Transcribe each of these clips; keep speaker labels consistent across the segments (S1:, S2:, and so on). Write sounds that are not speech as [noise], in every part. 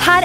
S1: her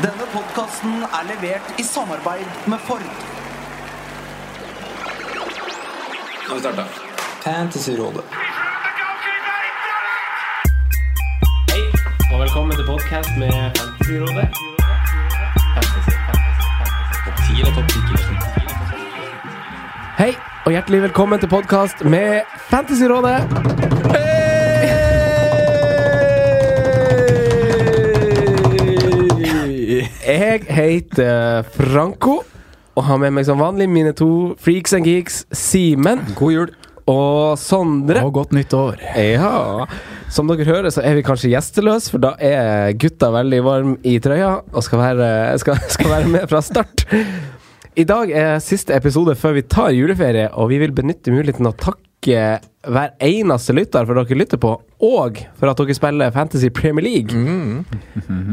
S2: Denne podkasten er levert i samarbeid med Ford. Nå har vi starta. Fantasyrådet.
S3: Hei, og velkommen til podcast med Fantasyrådet. Hei, og hjertelig velkommen til podcast med Fantasyrådet. Hei! Jeg heter Franco, og har med meg som vanlig mine to freaks and geeks, Simen
S4: God jul
S3: og Sondre.
S4: og godt nytt år.
S3: Ja. Som dere hører, så er vi kanskje gjesteløse, for da er gutta veldig varm i trøya og skal være, skal, skal være med fra start. I dag er siste episode før vi tar juleferie, og vi vil benytte muligheten å takke hver eneste lytter for dere lytter på, og for at dere spiller Fantasy Premier League.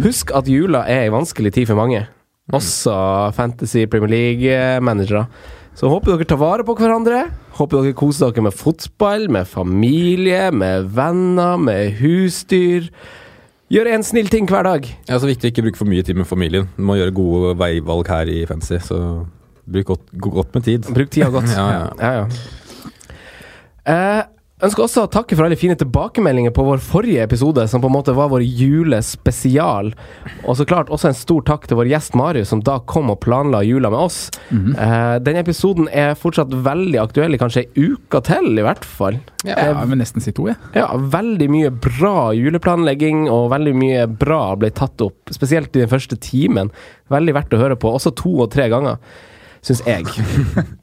S3: Husk at jula er ei vanskelig tid for mange, også Fantasy Premier League-managere. Så håper dere tar vare på hverandre. Håper dere koser dere med fotball, med familie, med venner, med husdyr. Gjør en snill ting hver dag.
S4: Det er så viktig å ikke bruke for mye tid med familien. Du må gjøre gode veivalg her i Fancy, så bruk godt, gå godt med tid.
S3: Bruk tida godt.
S4: [laughs] Ja, ja.
S3: ja, Eh, ønsker også å takke for alle fine tilbakemeldinger på vår forrige episode, som på en måte var vår julespesial. Og så klart også en stor takk til vår gjest Marius, som da kom og planla jula med oss.
S4: Mhm.
S3: eh, den episoden er fortsatt veldig aktuell i kanskje ei uke til, i hvert fall. Eh,
S4: Ja, men nesten si to, jeg.
S3: Ja, veldig mye bra juleplanlegging, og veldig mye bra ble tatt opp. Spesielt i den første timen. Veldig verdt å høre på. Også to og tre ganger, syns jeg. [laughs]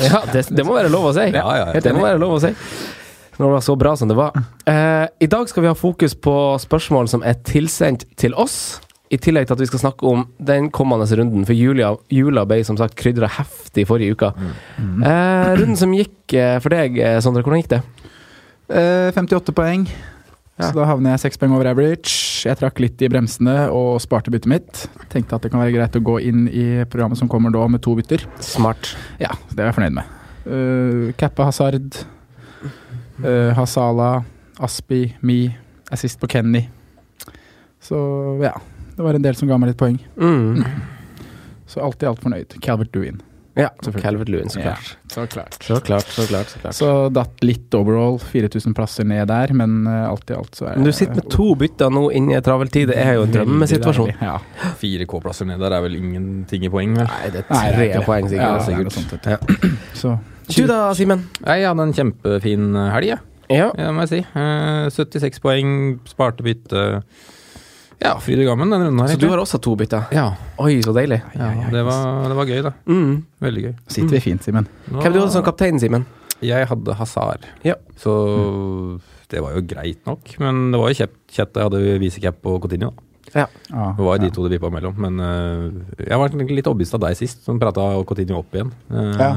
S3: Ja, det, det må være lov å si.
S4: Ja, ja, ja.
S3: Det må være lov å si. Når det var så bra som det var. Eh, I dag skal vi ha fokus på spørsmål som er tilsendt til oss. I tillegg til at vi skal snakke om den kommende runden, for jula, jula ble som sagt krydra heftig forrige uke. Eh, runden som gikk eh, for deg, eh, Sondre, hvordan gikk det?
S5: Eh, 58 poeng.
S3: Ja.
S5: Så da havner jeg seks poeng over average. Jeg trakk litt i bremsene og sparte byttet mitt. Tenkte at det kan være greit å gå inn i programmet som kommer da med to bytter.
S3: Smart.
S5: Ja, det var jeg fornøyd med. Uh, Kappa Hazard, eh, Hasala, Aspi, Mi. Jeg er sist på Kenny. Så ja, det var en del som ga meg litt poeng.
S3: Mm.
S5: Så alt i alt fornøyd. Calvert Lewin.
S3: Ja,
S5: Selvfølgelig.
S3: Calvert Lewin, så
S5: Ja,
S3: klart.
S5: Så klart.
S3: Så klart, så klart, så klart.
S5: Så datt litt overall. 4000 plasser ned der, men eh, alt i alt så er
S3: Men du sitter med to bytter nå inn i en travel tid. Det er jo en drømmesituasjon.
S5: Veldig deilig, Ja.
S4: Fire K-plasser ned der er vel ingenting i poeng, vel?
S3: Nei, det er
S5: Nei, det
S3: tre
S5: er ikke det.
S3: poeng,
S5: Ja,
S3: sikkert.
S5: det er noe sånt, vet du. Så
S3: Du da, Simen?
S4: Jeg hadde en kjempefin eh, helg, jeg.
S3: Ja.
S4: Ja, det må jeg si. Eh, 76 poeng, sparte bytte. Ja, fryd og gammen denne runden her.
S3: Så du har også to bytter?
S4: Ja,
S3: Oi, så deilig.
S4: ja det, var, det var gøy, da.
S3: Mm.
S4: Veldig gøy.
S5: sitter vi fint, Simen.
S4: Nå-
S3: Hvem du hadde som kaptein, Simen?
S4: Jeg hadde Hazard,
S3: Ja.
S4: så det var jo greit nok. Men det var jo kjett, kjett da jeg hadde Visecap og Coutinho. da.
S5: Ja,
S4: Det var jo
S5: ja.
S4: de to det vippa mellom. Men eh, jeg var egentlig litt overbevist av deg sist, som prata Coutinho opp igjen. Eh,
S5: Ja.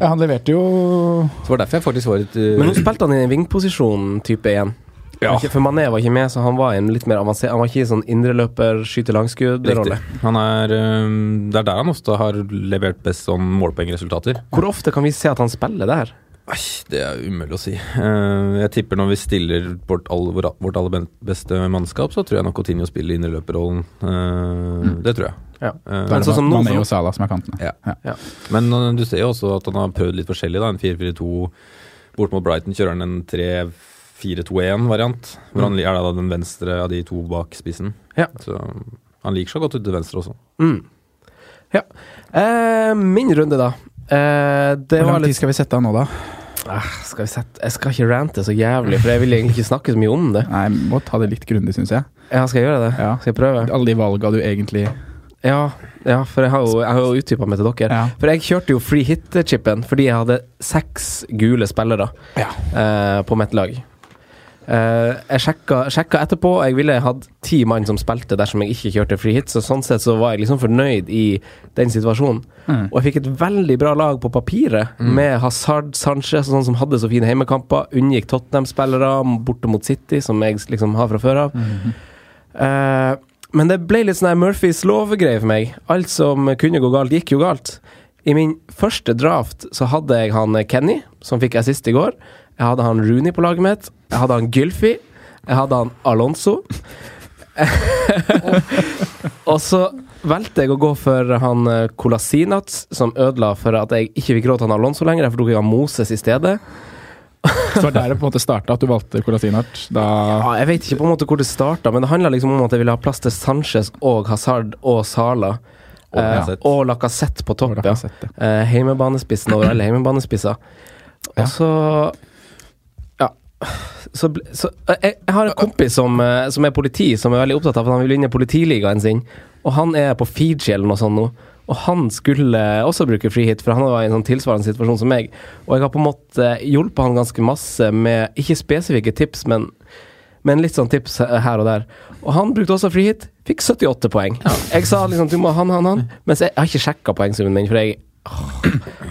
S5: Ja, han leverte jo
S4: Så var det derfor jeg faktisk var litt eh,
S3: Men nå spilte han i en vingposisjon type igjen.
S4: Ja.
S3: Ikke- For Mané var ikke med, så han var i en litt mer avansert Han var ikke i sånn indreløper, skyter langskudd-rolle.
S4: Riktig. Han er, eh, det er der han ofte har levert best sånn målpoengresultater.
S3: Hvor ofte kan vi se at han spiller der?
S4: Nei, det er umulig å si. Eh, jeg tipper når vi stiller vårt, all, vår- vårt aller ben- beste mannskap, så tror jeg nok Coutinho spiller indreløperrollen. Uh, Det tror jeg.
S3: Ja.
S4: Eh,
S3: Men sånn som nå,
S5: Mané
S3: så-
S5: og Salah som er kantene.
S4: Ja. Men øh, du ser jo også at han har prøvd litt forskjellig. da En 4-4-2 bort mot Brighton kjører han en 3 4-2-1-variant. Hvor han er da den venstre av de to bak spissen. Så han liker seg godt ut til venstre også. [laughs]
S3: Mm. Ja. Eh, min runde, da. Eh, det
S5: Hvor
S3: var
S5: lang tid
S3: litt
S5: skal vi sette av nå, da?
S3: ah, skal vi sette Jeg skal ikke rante så jævlig, for jeg vil egentlig ikke snakke så mye om det.
S5: Nei, må ta det litt grundig, syns jeg.
S3: Ja, skal jeg gjøre det?
S5: Ja.
S3: Skal jeg prøve?
S5: Alle de valga du egentlig
S3: Ja, ja for jeg har jo, jeg har jo utdypa meg til dere.
S5: Ja.
S3: For jeg kjørte jo free hit-chipen fordi jeg hadde seks gule spillere
S5: Ja.
S3: eh, på mitt lag. Eh, jeg sjekka, sjekka etterpå, og jeg ville hatt ti mann som spilte dersom jeg ikke kjørte free hit, så sånn sett så var jeg liksom fornøyd i den situasjonen.
S5: Mm.
S3: Og jeg fikk et veldig bra lag på papiret, med Hazard, Sanchez og sånne som hadde så fine heimekamper, unngikk Tottenham-spillere borte mot City, som jeg liksom har fra før av. Eh, men det ble litt sånn her Murphys lov-greie for meg. Alt som kunne gå galt, gikk jo galt. I min første draft så hadde jeg han Kenny, som fikk assist i går. Jeg hadde han Rooney på laget mitt. Jeg hadde han Gylfi. Jeg hadde han Alonso. [laughs] Og så valgte jeg å gå for han eh, Kolasinac, som ødela for at jeg ikke fikk råd til han Alonso lenger. Derfor tok jeg han Moses i stedet.
S5: Så var det der det på en måte starta, at du valgte Colasinart. Da
S3: Ja, jeg vet ikke på en måte hvor det starta, men det handla liksom om at jeg ville ha plass til Sanchez og Hazard og Sala.
S4: Og
S3: eh,
S4: Lacazette.
S3: og Lacassette på topp,
S5: Og
S3: ja.
S5: Lacazette.
S3: Eh, heimebanespissen over
S5: [clears throat]
S3: alle heimebanespisser.
S5: Ja.
S3: Og så Ja. Så, ble- så eh, jeg, jeg har en kompis som, eh, som er politi, som er veldig opptatt av at han vil vinne politiligaen sin. Og han er på Fiji eller noe sånt nå. Og han skulle også bruke frihet, for han var i en sånn tilsvarende situasjon som meg. Og jeg har på en måte hjulpet han ganske masse med ikke spesifikke tips, men men litt sånn tips her og der. Og han brukte også frihit. Fikk 78 poeng. Jeg sa liksom du må ha han, han, han. Mens jeg, jeg har ikke sjekka poengsummen min, for jeg Åh.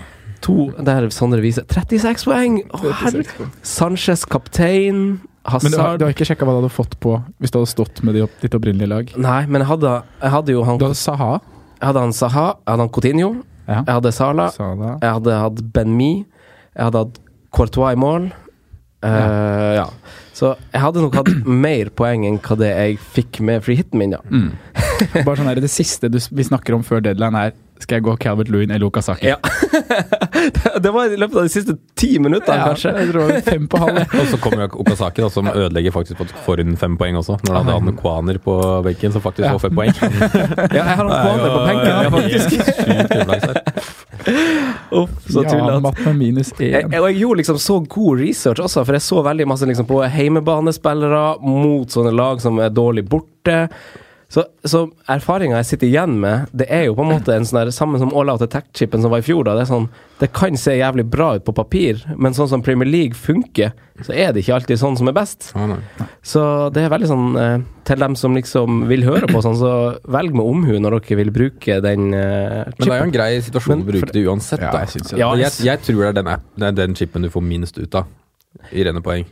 S3: To der Sondre viser 36 poeng! Å, herregud. Sanchez kaptein.
S5: Men du har,
S3: Hazard
S5: du har ikke sjekka hva du hadde fått på hvis du hadde stått med de opp, ditt opprinnelige lag?
S3: Nei, men jeg hadde, jeg hadde jo han
S5: Du hadde Saha.
S3: Jeg hadde han Saha, jeg hadde han Coutinho,
S5: Ja.
S3: jeg hadde Sala,
S5: Salah.
S3: jeg hadde hatt Ben-Mi, jeg hadde hatt Courtois i mål. Eh, ja. Så jeg hadde nok hatt mer poeng enn hva det jeg fikk med free hiten min, ja.
S5: Mm. Bare sånn der, Det siste du, s- vi snakker om før deadline, er skal jeg gå Calvert Lewin eller Luka Saki?
S3: Ja. [laughs] Det var i løpet av de siste ti minuttene, kanskje.
S5: Jeg tror det var fem på halv. jeg.
S4: Og så kommer jo Okasaki, da, som ødelegger faktisk på for hun fem poeng også. Når han hadde han Kwaner på benken, som faktisk får fem poeng.
S3: Ja, jeg har han Kwane på benken, ja, faktisk.
S4: Sykt uflaks her.
S3: Uff, så
S5: ja,
S3: tullete.
S5: Matt med minus
S3: [laughs] Jeg,
S5: én.
S3: jeg- og jeg gjorde liksom så god research også, for jeg så veldig masse liksom på heimebanespillere mot sånne lag som er dårlig borte. Så, så erfaringa jeg sitter igjen med, det er jo på en måte en sånn der samme som All Out Attack-chipen som var i fjor. da, Det er sånn, det kan se jævlig bra ut på papir, men sånn som Premier League funker, så er det ikke alltid sånn som er best.
S4: Ja, nei.
S3: Så det er veldig sånn eh, Til dem som liksom vil høre på sånn, så velg med omhu når dere vil bruke den eh,
S4: Men det er jo
S3: chipen.
S4: en grei situasjon å bruke det uansett,
S5: Ja,
S4: da.
S5: jeg synes jo det.
S4: Og
S3: Ja,
S4: jeg, jeg tror det er den, app, det er den chipen du får minst ut av i rene poeng.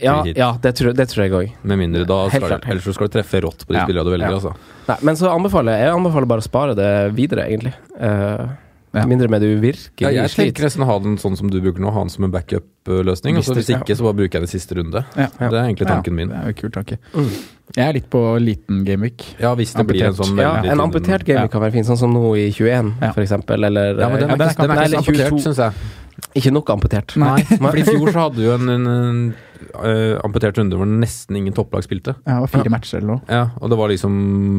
S3: Ja,
S4: hit.
S3: ja det, tror, det tror jeg òg.
S4: Med mindre da
S3: Helt
S4: skal,
S3: klart, helt
S4: Ellers så skal du treffe rått på
S5: Ja,
S4: de spillerne du velger,
S5: ja.
S4: altså.
S3: Men så anbefaler jeg jeg anbefaler bare å spare det videre, egentlig. Eh,
S5: Ja.
S3: Mindre med du virkelig
S4: Ja, jeg
S3: sliter.
S4: tenker nesten å ha den sånn som du bruker nå, ha den som en backup-løsning.
S5: Hvis
S4: Og så
S5: det-
S4: hvis ikke, så bare bruker jeg den siste runde.
S5: Ja.
S4: Det er egentlig
S5: Ja,
S4: tanken min.
S5: Det er jo en kul tanke.
S3: Mm.
S5: Jeg er litt på liten gameweek.
S4: Ja, hvis det blir en sånn
S3: Ja,
S4: veldig
S3: en
S4: tynn-
S3: amputert game
S5: Ja.
S3: kan være fin, sånn som nå i 21,
S5: Ja.
S3: for eksempel. Eller
S4: Ja, men den
S3: eh,
S4: er
S5: den er
S4: ikke, den
S3: ikke
S4: er ikke så
S3: så
S4: amputert,
S3: 22.
S4: syns [laughs] jeg.
S3: ikke nok amputert.
S4: Nei,
S3: Nei.
S4: for i fjor så hadde du en, en, eh, amputert runde hvor nesten ingen topplag spilte.
S5: Ja, det var fire matcher eller noe.
S4: Ja, Mm. og det var liksom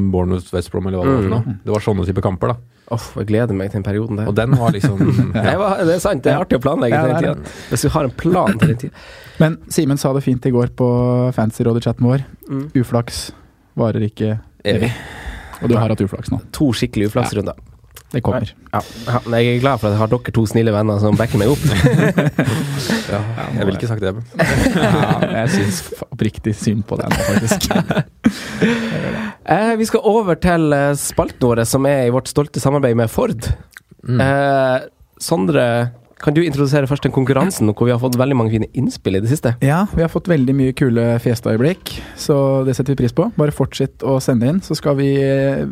S4: Bournemouth, West Brom eller hva det var for noe. Det var sånne type kamper, da.
S3: Uff, jeg gleder meg til den perioden der.
S4: Og den var liksom [laughs]
S3: Nei, hva- det er sant, det er artig å planlegge
S5: Ja,
S3: til
S5: det er
S3: den tida. Hvis du har en plan til den tida.
S5: Men Simen sa det fint i går på fancyrådet-chatten vår.
S3: Mm.
S5: Uflaks varer ikke
S4: evig.
S5: Og du har hatt uflaks nå.
S3: To skikkelig uflaksrunder.
S5: Det kommer.
S3: Ja, ja, men jeg er glad for at jeg har dere to snille venner som backer meg opp.
S4: [laughs] Ja, jeg ville ikke sagt det, men
S5: Ja, jeg syns f- oppriktig synd på deg nå, faktisk.
S3: [laughs] Eh, vi skal over til eh, spalten vår, som er i vårt stolte samarbeid med Ford.
S4: Mm.
S3: Eh, Sondre, kan du introdusere først den konkurransen hvor vi har fått veldig mange fine innspill i det siste?
S5: Ja, vi har fått veldig mye kule fjesøyeblikk, så det setter vi pris på. Bare fortsett å sende inn, så skal vi eh,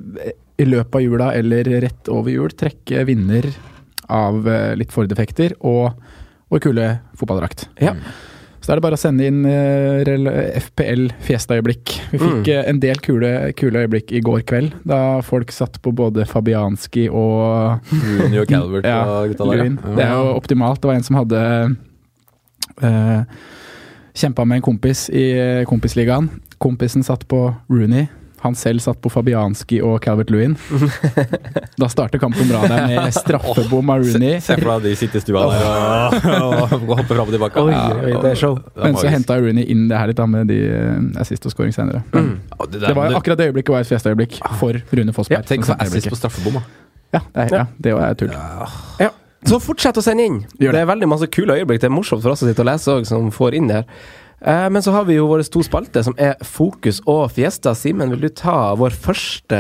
S5: i løpet av jula eller rett over jul trekke vinner av eh, litt Ford-effekter og vår kule fotballdrakt.
S3: Ja.
S5: Så da er det bare å sende inn eh, rel- FPL Fiesta-øyeblikk. Vi fikk
S3: Mm.
S5: eh, en del kule, kule øyeblikk i går kveld, da folk satt på både Fabianski og
S4: Rooney og [laughs] Calvert
S5: Ja,
S4: og gutta der.
S5: Lewin. Det er jo optimalt. Det var en som hadde eh, Kjempa med en kompis i eh, kompisligaen. Kompisen satt på Rooney. Han selv satt på Fabianski og Calvert
S4: [laughs]
S5: Lewin. Da starter kampen bra der med straffebom av Rooney.
S4: Se for deg de sitter i stua der og, og hopper fram og tilbake.
S5: Oi,
S4: Ja,
S5: oi, det er show.
S4: det er
S5: Men så
S4: magisk.
S5: henta Rooney inn det her litt da med de eh, assist og scoring senere. Men
S4: Ja, det der-
S5: det Sånn var jo akkurat det øyeblikket var et festøyeblikk for Rune Fossberg.
S4: Tenk
S5: som
S4: å få
S5: sendte
S4: assist
S5: øyeblikket.
S4: sånn på straffebom, da.
S5: Ja, det er, ja, det var tull.
S3: Ja. Så fortsett å sende inn. Det. er veldig masse kule øyeblikk. Det er morsomt for oss å sitte og lese òg, som får inn det her. Eh, men så har vi jo våre to spalter, som er Fokus og Fiesta. Simen, vil du ta vår første,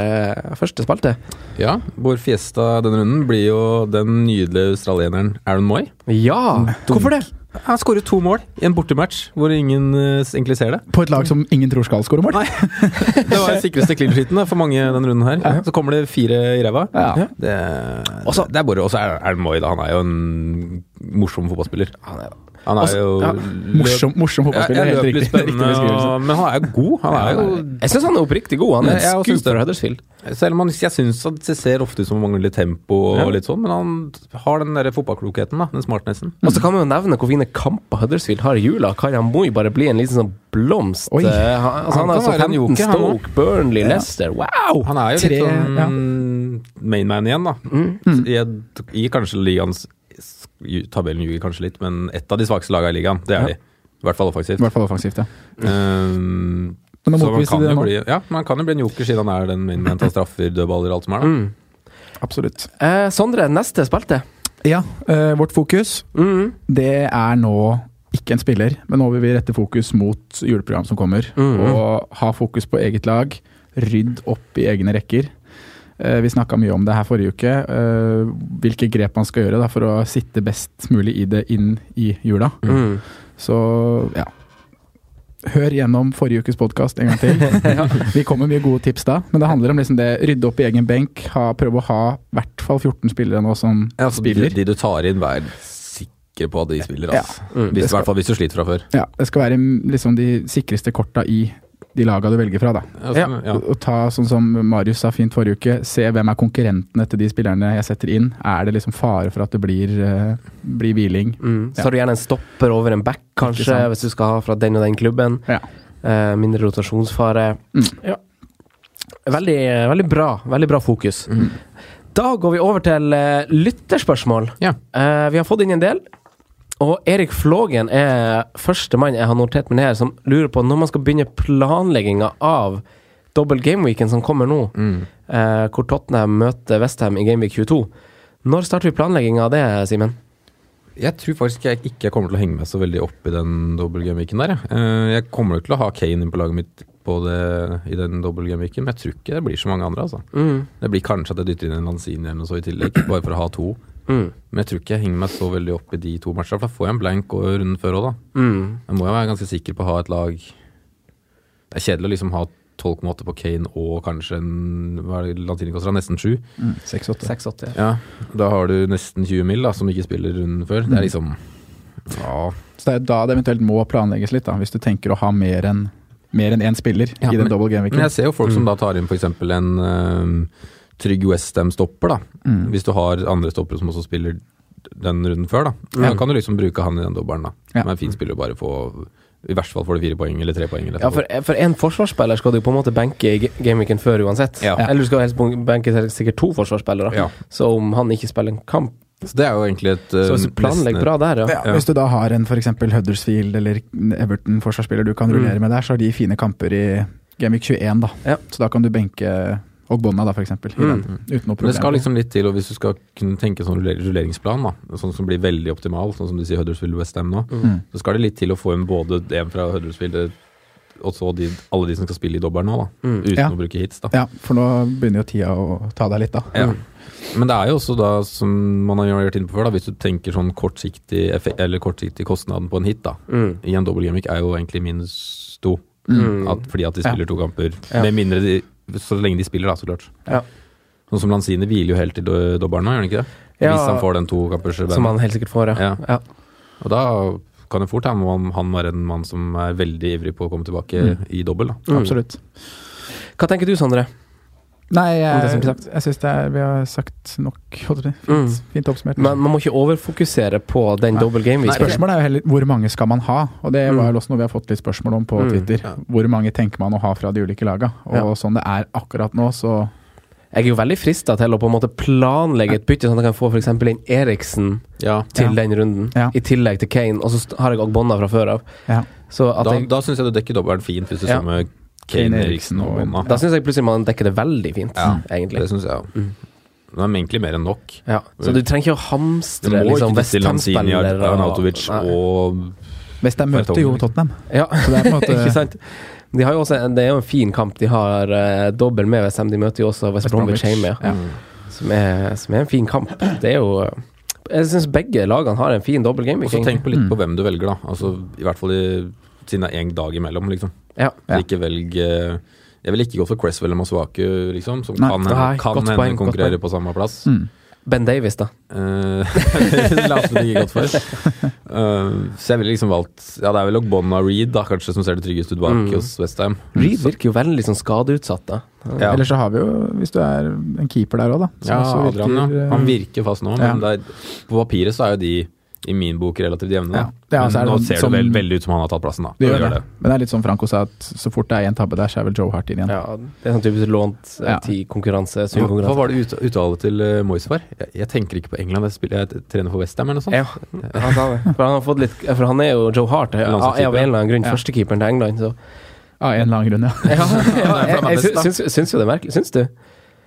S3: første spalte?
S4: Ja, vår fiesta denne runden blir jo den nydelige australieneren Aaron Moy.
S3: Ja, hvorfor det?
S4: Han skårer to mål i en bortematch hvor ingen eh, egentlig ser det.
S5: På et lag som ingen tror skal skåre mål.
S4: Det var den sikreste clean-sheeten for mange denne runden her. Så kommer det fire i ræva.
S5: Ja.
S4: Det, det er bare Og så er Aaron Moy, da. Han er jo en morsom fotballspiller. Han er, jo
S3: ja,
S5: Morsom, morsom fotballspiller.
S4: Ja,
S5: helt
S4: jeg løper
S5: riktig.
S4: litt spennende,
S5: riktig beskrivelse.
S4: og- men han er jo god. Han er jo
S3: Jeg syns han er oppriktig god. Han er
S4: Jeg
S3: en
S4: også synes
S3: skuffer
S4: det.
S3: fra Huddersfield.
S4: Selv om han, jeg syns at det ser ofte ut som han mangler tempo, og litt sånn, men han har den der fotballklokheten, da, den smartnessen.
S3: Og så kan man jo nevne hvor fine kamper Huddersfield har i jula. Kan han Moi bare bli en liten sånn blomst?
S5: Oi.
S3: Eh, Han, altså, han, har
S4: Han kan
S3: altså
S4: være en
S3: 15
S4: joker, han også.
S3: Stoke, Burnley, Leicester. Wow!
S4: Han er jo
S5: Tre-
S4: litt sånn
S5: ja.
S4: mainman igjen, da.
S5: Mm.
S4: I, I kanskje ligaens Tabellen ljuger kanskje litt, men ett av de svakeste lagene i ligaen. Det er
S5: Ja.
S4: de. I hvert fall
S5: I
S4: offensivt.
S5: hvert fall offensivt, ja.
S4: Um,
S5: Men da
S4: så man
S5: motbeviste
S4: kan,
S5: de det
S4: jo
S5: nå.
S4: bli, ja, man kan jo bli en joker siden han er den mainman, tar straffer, dødballer, alt som er. Da.
S5: Mm.
S3: Mm.
S5: Absolutt.
S3: Eh, Sondre, neste spilte.
S5: Ja, eh, vårt fokus
S3: Mm.
S5: det er nå ikke en spiller, men nå vil vi rette fokus mot juleprogram som kommer. Og ha fokus på eget lag. Rydd opp i egne rekker. Eh, Vi snakka mye om det her forrige uke. eh, Hvilke grep man skal gjøre da, for å sitte best mulig i det inn i jula.
S3: Mm.
S5: Så ja. Hør gjennom forrige ukes podkast en gang til. Vi kommer med mye gode tips da, men det handler om liksom det rydde opp i egen benk. Ha, prøve å ha i hvert fall 14 spillere nå som
S4: Ja, altså,
S5: spiller.
S4: De, de du tar inn, vær sikker på at de spiller,
S5: Ja. Mm.
S4: altså. Hvis, I hvert fall hvis du sliter fra før.
S5: Ja, det skal være liksom de sikreste korta i de laga du velger fra, da.
S4: Ja, sånn, ja.
S5: Og og ta sånn som Marius sa fint forrige uke, se hvem er konkurrentene til de spillerne jeg setter inn. Er det liksom fare for at det blir, eh, blir hviling?
S3: Mm. Så
S5: Ja.
S3: har du gjerne en stopper over en back, kanskje,
S5: sant.
S3: hvis du skal ha fra den og den klubben.
S5: Ja.
S3: Eh, mindre rotasjonsfare. Ja. Veldig, veldig bra. Veldig bra fokus. Da går vi over til eh, lytterspørsmål.
S4: Ja.
S3: Eh, vi har fått inn en del. Og Erik Flågen er førstemann jeg har notert meg ned, som lurer på når man skal begynne planlegginga av dobbel gameweekend som kommer nå, eh, hvor Tottenham møter Westham i Gameweek 22. Når starter vi planlegginga av det, Simen?
S4: Jeg tror faktisk jeg ikke jeg kommer til å henge meg så veldig opp i den dobbeltgameweeken der. jeg. Eh, Jeg kommer jo til å ha Kane inn på laget mitt på det, i den dobbeltgameweeken, men jeg tror ikke det blir så mange andre. altså. Det blir kanskje at jeg dytter inn en Lanzini eller noe så i tillegg, [clears throat] bare for å ha to. Men jeg tror ikke jeg henger meg så veldig opp i de to matchene, for da får jeg en blank og runden før òg, da. Jeg må jo være ganske sikker på å ha et lag Det er kjedelig å liksom ha 12,8 på Kane og kanskje en hva er det Lanzini koster, da? nesten 7.
S5: 6-8.
S3: 6-8. Ja.
S4: Ja, da har du nesten 20 mil da, som du ikke spiller runden før.
S3: Mm.
S4: Det er liksom Ja.
S5: Så det er jo da det eventuelt må planlegges litt, da, hvis du tenker å ha mer enn mer enn én spiller
S4: Ja,
S5: i den
S4: men-
S5: double
S4: Men jeg
S5: game-weeken.
S4: ser jo
S3: Mm.
S4: folk som da tar inn f.eks. en øhm, trygg Westham-stopper, da.
S3: Mm.
S4: Hvis du har andre stoppere som også spiller den runden før, da. Da kan du liksom bruke han i den dobbelen, da.
S5: Ja.
S4: Som er en fin spiller å bare få I verste fall får du fire poeng eller tre poeng. Eller
S3: Ja, for, for en forsvarsspiller skal du på en måte benke i ga- gameweeken før uansett.
S4: Ja.
S3: Eller du skal helst benke til sikkert to forsvarsspillere.
S4: Ja.
S3: Så om han ikke spiller en kamp
S4: Så det er jo egentlig et eh,
S3: Så hvis
S4: øhm,
S3: du planlegger
S4: nesten-
S3: bra der, ja.
S5: Ja, hvis du da har en f.eks. Huddersfield eller Everton-forsvarsspiller du
S4: Mm.
S5: kan rullere med der, så har de fine kamper i Gameweek 21, da.
S3: Ja.
S5: Så da kan du benke Ogbonna, da, f.eks. Mm. Uten noe
S4: Men
S5: problem.
S4: det skal liksom litt til, og hvis du skal kunne tenke sånn ruller- rulleringsplan, da, sånn som blir veldig optimal, sånn som de sier Huddersfield Westham nå,
S5: Mm.
S4: så skal det litt til å få inn både en fra Huddersfield eh, og så de, alle de som skal spille i dobbelen nå, da, uten
S5: Ja.
S4: å bruke hits. da.
S5: Ja, for nå begynner jo tida å ta deg litt, da.
S4: Ja.
S3: Mm.
S4: Men det er jo også da, som man har vært inne på før, da, hvis du tenker sånn kortsiktig, effe- eller kortsiktig kostnaden på en hit, da,
S3: Mm.
S4: i en dobbeltgimmick er jo egentlig minus to. At, fordi at de spiller to kamper. Med mindre de Så lenge de spiller, da, så klart.
S3: Ja.
S4: Sånn som Lanzini hviler jo helt til do- dobbelen nå, gjør han ikke det?
S3: Ja.
S4: Hvis han får den tokampers
S3: som han helt sikkert får, ja.
S4: Ja.
S3: ja.
S4: Og da kan det fort hende om han var en mann som er
S3: Mm.
S4: veldig ivrig på å komme tilbake i dobbel, da.
S5: Absolutt.
S3: Hva tenker du, Sondre?
S5: Nei,
S3: Om det som
S5: jeg,
S3: blir
S5: jeg syns vi har sagt nok. holdt jeg på å si. Fint,
S3: Mm.
S5: fint oppsummert.
S3: Men man må ikke overfokusere på den
S5: Nei.
S3: double game
S5: Nei,
S3: week.
S5: Spørsmålet er jo heller hvor mange skal man ha? Og det var jo også noe vi har fått litt spørsmål om på
S3: Mm.
S5: Twitter. Hvor mange tenker man å ha fra de ulike laga? Og
S3: Ja.
S5: sånn det er akkurat nå, så
S3: Jeg er jo veldig frista til å på en måte planlegge et bytte, sånn at jeg kan få f.eks. inn Eriksen til
S4: Ja.
S3: den runden, i tillegg til Kane. Og så st- har jeg Ogbonna fra før av. Så at
S4: Da,
S3: jeg,
S4: da syns jeg du dekker dobbelen fint, hvis du
S3: Ja.
S4: står med Kane Eriksen og Bonna.
S3: da syns jeg plutselig man dekker det veldig fint, egentlig. Mm.
S4: Det syns jeg òg. De er egentlig mer enn nok.
S3: Ja. Så du trenger ikke å
S4: Du
S3: hamstre
S4: må
S3: liksom,
S4: ikke til Lanzini,
S3: Westham-spillere.
S4: Arnautovic og
S5: Westham møter jo Tottenham.
S3: Ja,
S5: Så det er på en måte
S3: [laughs] ikke sant? De har jo også en, det er jo en fin kamp. De har uh, dobbel med Westham. De møter jo også West
S5: West
S3: Bromwich
S5: Bromwich.
S3: hjemme, ja.
S5: Ja.
S3: som, er, som er en fin kamp. Det er jo eh, Jeg syns begge lagene har en fin dobbel game.
S4: Og så tenk på litt på
S3: Mm.
S4: hvem du velger, da. Altså, I hvert fall i, siden det er én dag imellom, liksom.
S3: Ja.
S4: Så ikke velg eh, Jeg ville ikke gått for Cresswell eller Masuaku, liksom, som
S3: Nei.
S4: kan,
S3: Nei,
S4: kan
S3: godt
S4: hende
S3: poeng, godt poeng.
S4: konkurrere på samme plass.
S3: Mm. Ben Davies, da.
S4: Eh, [laughs] La oss ikke
S3: [laughs]
S4: gått for. Eh, så jeg ville liksom valgt Ja, det er vel Ogbonna Reed, da, kanskje, som ser det tryggest ut bak
S3: Mm.
S4: hos Westham.
S3: Reed virker jo veldig sånn skadeutsatt, da.
S4: Ja.
S5: Eller så har vi jo, hvis du er en keeper der òg, da. som
S4: Ja,
S5: også
S4: Adrian, ja.
S5: eh,
S4: Han virker fast nå,
S5: ja.
S4: men det er, på papiret så er jo de i min bok relativt jevne. da.
S5: Ja, altså er
S4: men
S5: det
S4: nå
S5: sånn
S4: ser
S5: som-
S4: det vel, veldig ut som han har tatt plassen, da.
S5: Det gjør
S4: Gjør
S5: det. Men det er litt som Franco sa, at så fort det er en tabbe der, så er vel Joe Hart inn igjen.
S3: Ja, det er sånn typisk lånt eh,
S5: Ja.
S3: til konkurranse. sunn
S4: Hva, hva
S3: konkurranse.
S4: var det ut, uttale til uh, Moyes var? Jeg, jeg tenker ikke på England, jeg, spiller, jeg trener for Westham eller noe sånt.
S3: Ja, han sa det. For han, har fått litt, for han er jo Joe Hart, er av en eller annen grunn
S5: Ja.
S3: førstekeeperen til England. Så.
S5: Av en eller annen grunn,
S4: [laughs]
S5: ja.
S3: Ja,
S4: det er
S3: jeg,
S4: for
S3: jeg
S4: meg best, da.
S3: syns, syns- syns jo det er merkelig. Syns du?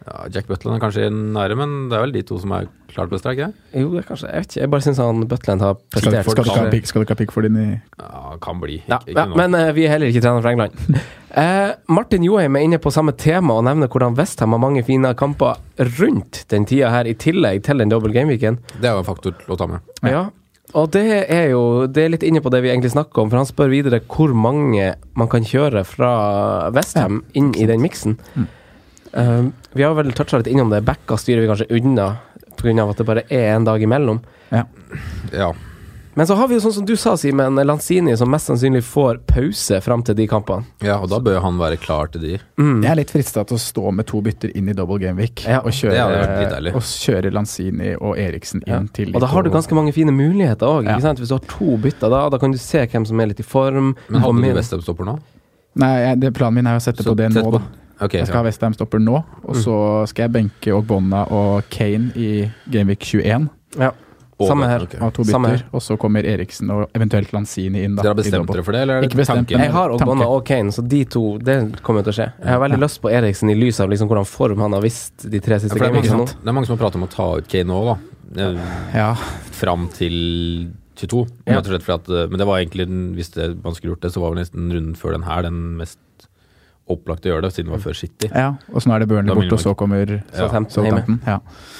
S4: Ja, Jack Butland er kanskje nære, men det er vel de to som er klart best, er det ikke det?
S3: Jo, det er kanskje Jeg vet ikke. Jeg bare syns han Butland har
S5: Skal,
S3: prestert.
S5: skal, du ikke ha pick, skal du ikke ha Pickford inn i
S4: Ja, kan bli. Ikke,
S3: Ja,
S4: ikke
S3: ja,
S4: nå.
S3: men eh, vi er heller ikke trener fra England. [laughs] Eh, Martin Joheim er inne på samme tema og nevner hvordan Westham har mange fine kamper rundt den tida her, i tillegg til den double game-weeken.
S4: Det er jo en faktor å ta med.
S3: Ja. Og det er jo det er litt inne på det vi egentlig snakker om, for han spør videre hvor mange man kan kjøre fra Westham inn i den miksen.
S5: Mm.
S3: Eh, vi har vel toucha litt innom det. Backa styrer vi kanskje unna pga. at det bare er en dag imellom.
S4: Ja.
S3: Men så har vi jo sånn som du sa, Simen, Lanzini som mest sannsynlig får pause fram til de kampene. Mm.
S4: ja, og da bør han være klar til de.
S5: Jeg er litt frista til å stå med to bytter inn i double game week
S3: Ja,
S5: og,
S4: det hadde vært litt
S5: kjøre,
S4: deilig.
S5: og kjøre Lanzini og Eriksen inn til de
S3: Og da har
S5: to-
S3: du ganske mange fine muligheter òg.
S5: Ja.
S3: sant? Hvis du har to bytter da, da kan du se hvem som er litt i form.
S4: Men
S3: Kom
S4: hadde
S3: inn.
S4: du Westham-stopper nå?
S5: Nei, jeg, det, planen min er å sette
S4: Så
S5: på det nå,
S4: tett på-
S5: da.
S4: Ok,
S5: Jeg skal ha
S4: ja. Mm.
S5: Westham stopper nå, og så skal jeg benke Ogbonna og Kane i Gameweek 21.
S3: Ja.
S4: Og-
S3: Samme her.
S4: ok.
S5: Av to
S3: Samme
S5: bytter,
S3: her.
S5: og så kommer Eriksen og eventuelt Lanzini inn. da
S4: Dere har
S5: i
S4: bestemt
S5: double.
S4: dere for det, eller er det
S5: Ikke bestemt,
S4: tanken?
S5: men-
S3: Jeg har Ogbonna og Kane, så de to Det kommer til å skje. Jeg har veldig lyst på Eriksen i lys av liksom hvordan form han har vist de tre
S4: Ja,
S3: siste
S4: for det, er mange,
S3: gamingene.
S4: som- det er mange som har pratet om å ta ut Kane nå, da. Eh,
S5: Ja,
S4: Fram til 22.
S3: Ja.
S4: Rett og slett fordi at, eh, men det var egentlig, den- hvis det, man skulle gjort det, så var vel nesten runden før den her den mest opplagte å gjøre det, siden det var før City.
S5: ja. Og så nå er det Burnley
S4: Da minner
S5: borte, og så
S4: man-
S5: kommer
S3: Southampton hjemme.
S5: Southampton. Ja.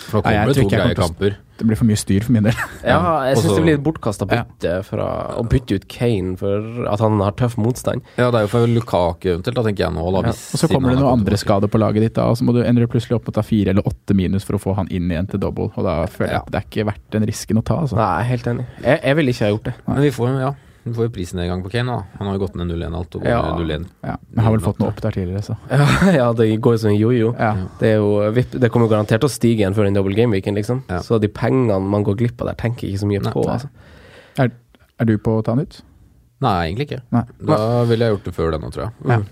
S4: For nå
S5: Nei, jeg
S4: kommer det
S5: tror
S4: to
S5: ikke jeg
S4: greie
S5: kommer
S4: kamper.
S5: Det blir for mye styr for min del.
S3: Ja, jeg
S4: Og
S3: syns
S4: så-
S3: det blir et bortkasta bytte fra å bytte ut Kane for at han har tøff motstand.
S4: Ja, det er jo for Lukaku eventuelt, da tenker jeg nå. Da,
S3: Ja.
S4: hvis,
S5: Og så kommer det noen andre skader på laget ditt, da, og så må du ender du plutselig opp med å ta fire eller åtte minus for å få han inn igjen til double. Og da føler jeg at det er ikke verdt den risken å ta, altså.
S3: Nei, jeg er helt enig. Jeg, jeg ville ikke ha gjort det.
S4: Men vi får jo ja, vi får jo prisnedgang på Kane. da Han har jo gått ned 0-1 alt. Og går
S3: Ja.
S4: ned 0-1
S5: Ja, men har vel fått noe opp der tidligere, så.
S3: Ja, ja [laughs] det går jo som en jojo.
S5: Ja.
S3: Det, er jo, vipp- det kommer jo garantert til å stige igjen før den double game-weeken, liksom.
S4: Ja.
S3: Så de pengene man går glipp av der, tenker jeg ikke så mye
S4: Nei.
S3: på. Altså.
S5: Er, er du på å ta han ut?
S4: Nei, egentlig ikke.
S5: Nei.
S4: Da ville jeg gjort det før denne, tror jeg. Mm.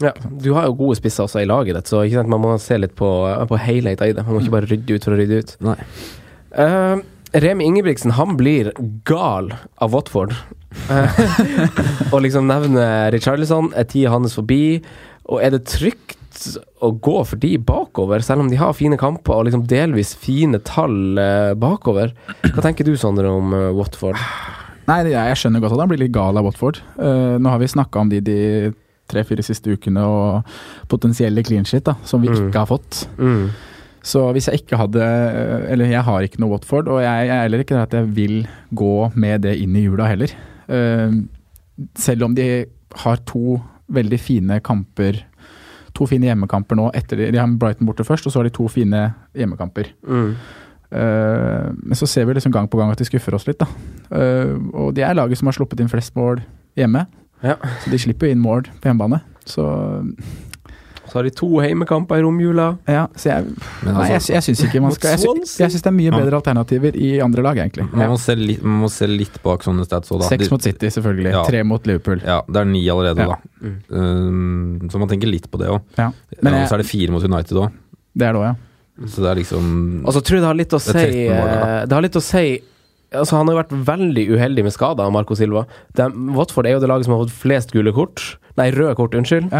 S5: Ja.
S3: Ja, du har jo gode spisser også i laget ditt, så ikke sant? man må se litt på, på helheten i det. Man må ikke bare rydde ut for å rydde ut.
S4: Nei.
S3: Eh, Remi Ingebrigtsen han blir gal av Watford. Eh, [laughs] og liksom nevner Richarlison, er tida hans forbi? Og er det trygt å gå for de bakover, selv om de har fine kamper og liksom delvis fine tall eh, bakover? Hva tenker du, Sondre, om eh, Watford?
S5: Nei, det- jeg skjønner godt at han blir litt gal av Watford. Eh, nå har vi snakka om de de tre-fire siste ukene og potensielle clean shit da, som vi
S3: Mm.
S5: ikke har fått.
S3: Mm.
S5: Så hvis jeg ikke hadde eh, Eller jeg har ikke noe Watford, og jeg jeg er heller ikke det at jeg vil gå med det inn i jula heller. Eh, selv om de har to veldig fine kamper To fine hjemmekamper nå. Etter de, de har Brighton borte først, og så har de to fine hjemmekamper.
S3: Mm.
S5: Eh, Men så ser vi liksom gang på gang at de skuffer oss litt. Da. Eh, Og de er laget som har sluppet inn flest mål hjemme.
S3: Ja.
S5: Så de slipper jo inn mål på hjemmebane. Så
S3: Så har de to heimekamper i romjula.
S5: Ja, så jeg
S4: altså-
S5: Nei, jeg, jeg syns ikke man skal Jeg, sy- jeg syns det er mye bedre alternativer i andre lag, egentlig.
S4: Mm. Man må, se litt, man må se litt bak sånne stats. også, da.
S5: Seks
S4: De-
S5: mot City, selvfølgelig.
S4: Ja.
S5: Tre mot Liverpool.
S4: Ja, Mm. det er ni allerede,
S5: Ja.
S4: da. Um, så man tenker litt på det òg.
S5: Ja. Men jeg-
S4: Og så er det fire mot United òg.
S5: Det er det òg, ja.
S4: Så det er liksom
S3: Og så tror jeg det har litt å
S4: Det er
S3: si
S4: 13 mål, da.
S3: eh, Det har litt å si Altså Han har jo vært veldig uheldig med skader, Marco Silva. De, Watford er jo det laget som har fått flest gule kort. Nei, røde kort, unnskyld.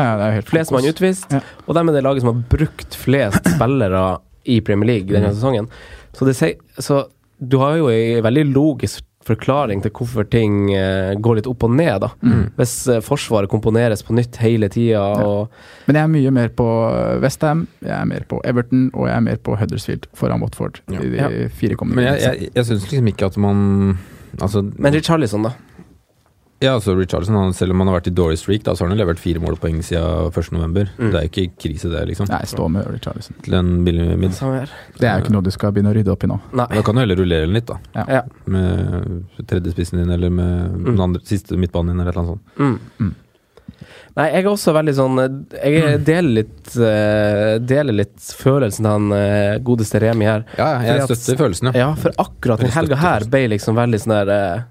S3: flest mann utvist. Og de er det laget som har brukt
S4: [clears throat]
S3: flest spillere i Premier League
S4: Mm.
S3: denne sesongen. Så, det sier- så du har jo ei veldig logisk forklaring til hvorfor ting eh, går litt opp og ned, da.
S4: Mm.
S5: Mm.
S3: Hvis eh, Forsvaret komponeres på nytt hele tida og
S5: Men jeg er mye mer på Westham, jeg er mer på Everton og jeg er mer på Huddersfield foran Watford. I de
S4: Ja.
S5: fire kommende
S4: Men jeg, jeg, jeg syns liksom ikke at man Altså
S3: Men Richarlison, da?
S4: Ja, altså Richarlison, han, selv om han har vært i dårlig streak, da, så har han jo levert fire målpoeng siden 1.11.
S5: Mm.
S4: Det er jo ikke krise, det, liksom.
S5: Nei, stå med Richarlison.
S4: Til en billig mid.
S5: Det er jo ikke noe du skal begynne å rydde opp i nå.
S4: Da kan du heller rullere den litt, da.
S5: Ja.
S3: Ja.
S4: Med tredjespissen din, eller med den andre, siste midtbanen din, eller et eller annet sånt.
S3: Mm. Nei, jeg er også veldig sånn eh, [clears throat] Jeg deler litt, eh, deler litt følelsen til han eh, godeste Remi her.
S4: Ja, ja, jeg
S3: Fordi
S4: støtter følelsen, ja.
S3: Ja, for akkurat den
S4: Jeg
S3: helga
S4: støtter
S3: her ble liksom veldig sånn der eh,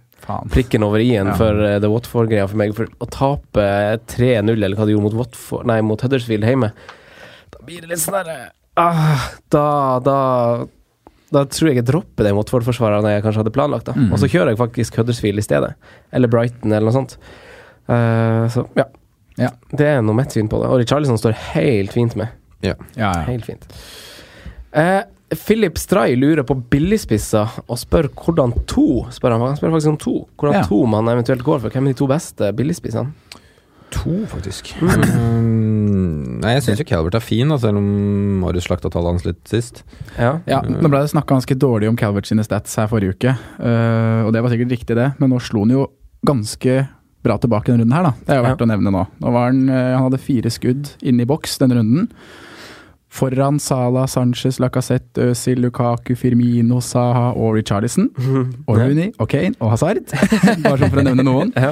S3: Prikken over i-en
S5: Ja.
S3: for eh, The Watford-greia for meg. For å tape 3-0, eller hva de gjorde mot, Watford, nei, mot Huddersfield hjemme, da blir det litt sånn derre ah, da, da da tror jeg jeg dropper den Watford-forsvareren jeg kanskje hadde planlagt. da
S5: Mm.
S3: Og så kjører jeg faktisk Huddersfield i stedet. Eller Brighton, eller noe sånt. Eh, så ja.
S5: Ja.
S3: Det er noe mitt syn på det. Og Richarlison står helt fint med.
S5: Ja, ja.
S3: Helt fint. Eh, Philip Stray lurer på billigspisser og spør hvordan to spør han, han spør faktisk om to. Hvordan
S5: Ja.
S3: to man eventuelt går for. Hvem er de to beste billigspissene?
S4: To, faktisk. Mm. Nei, jeg syns jo Calvert er fin, da, selv om Marius slakta tallet hans litt sist.
S3: Ja.
S5: Ja, Nå ble det snakka ganske dårlig om Calvert sine stats her forrige uke, eh, og det var sikkert riktig, det, men nå slo han jo ganske bra tilbake denne runden her, da. Det er jo verdt å nevne nå. Nå var han, eh, han hadde fire skudd inne i boks denne runden. Foran Salah, Sanchez, Lacassette, Øzil, Lukaku, Firmino, Saha og Richarlison. Og Rooney og Kane og Hazard, bare sånn for å nevne noen.
S3: Ja.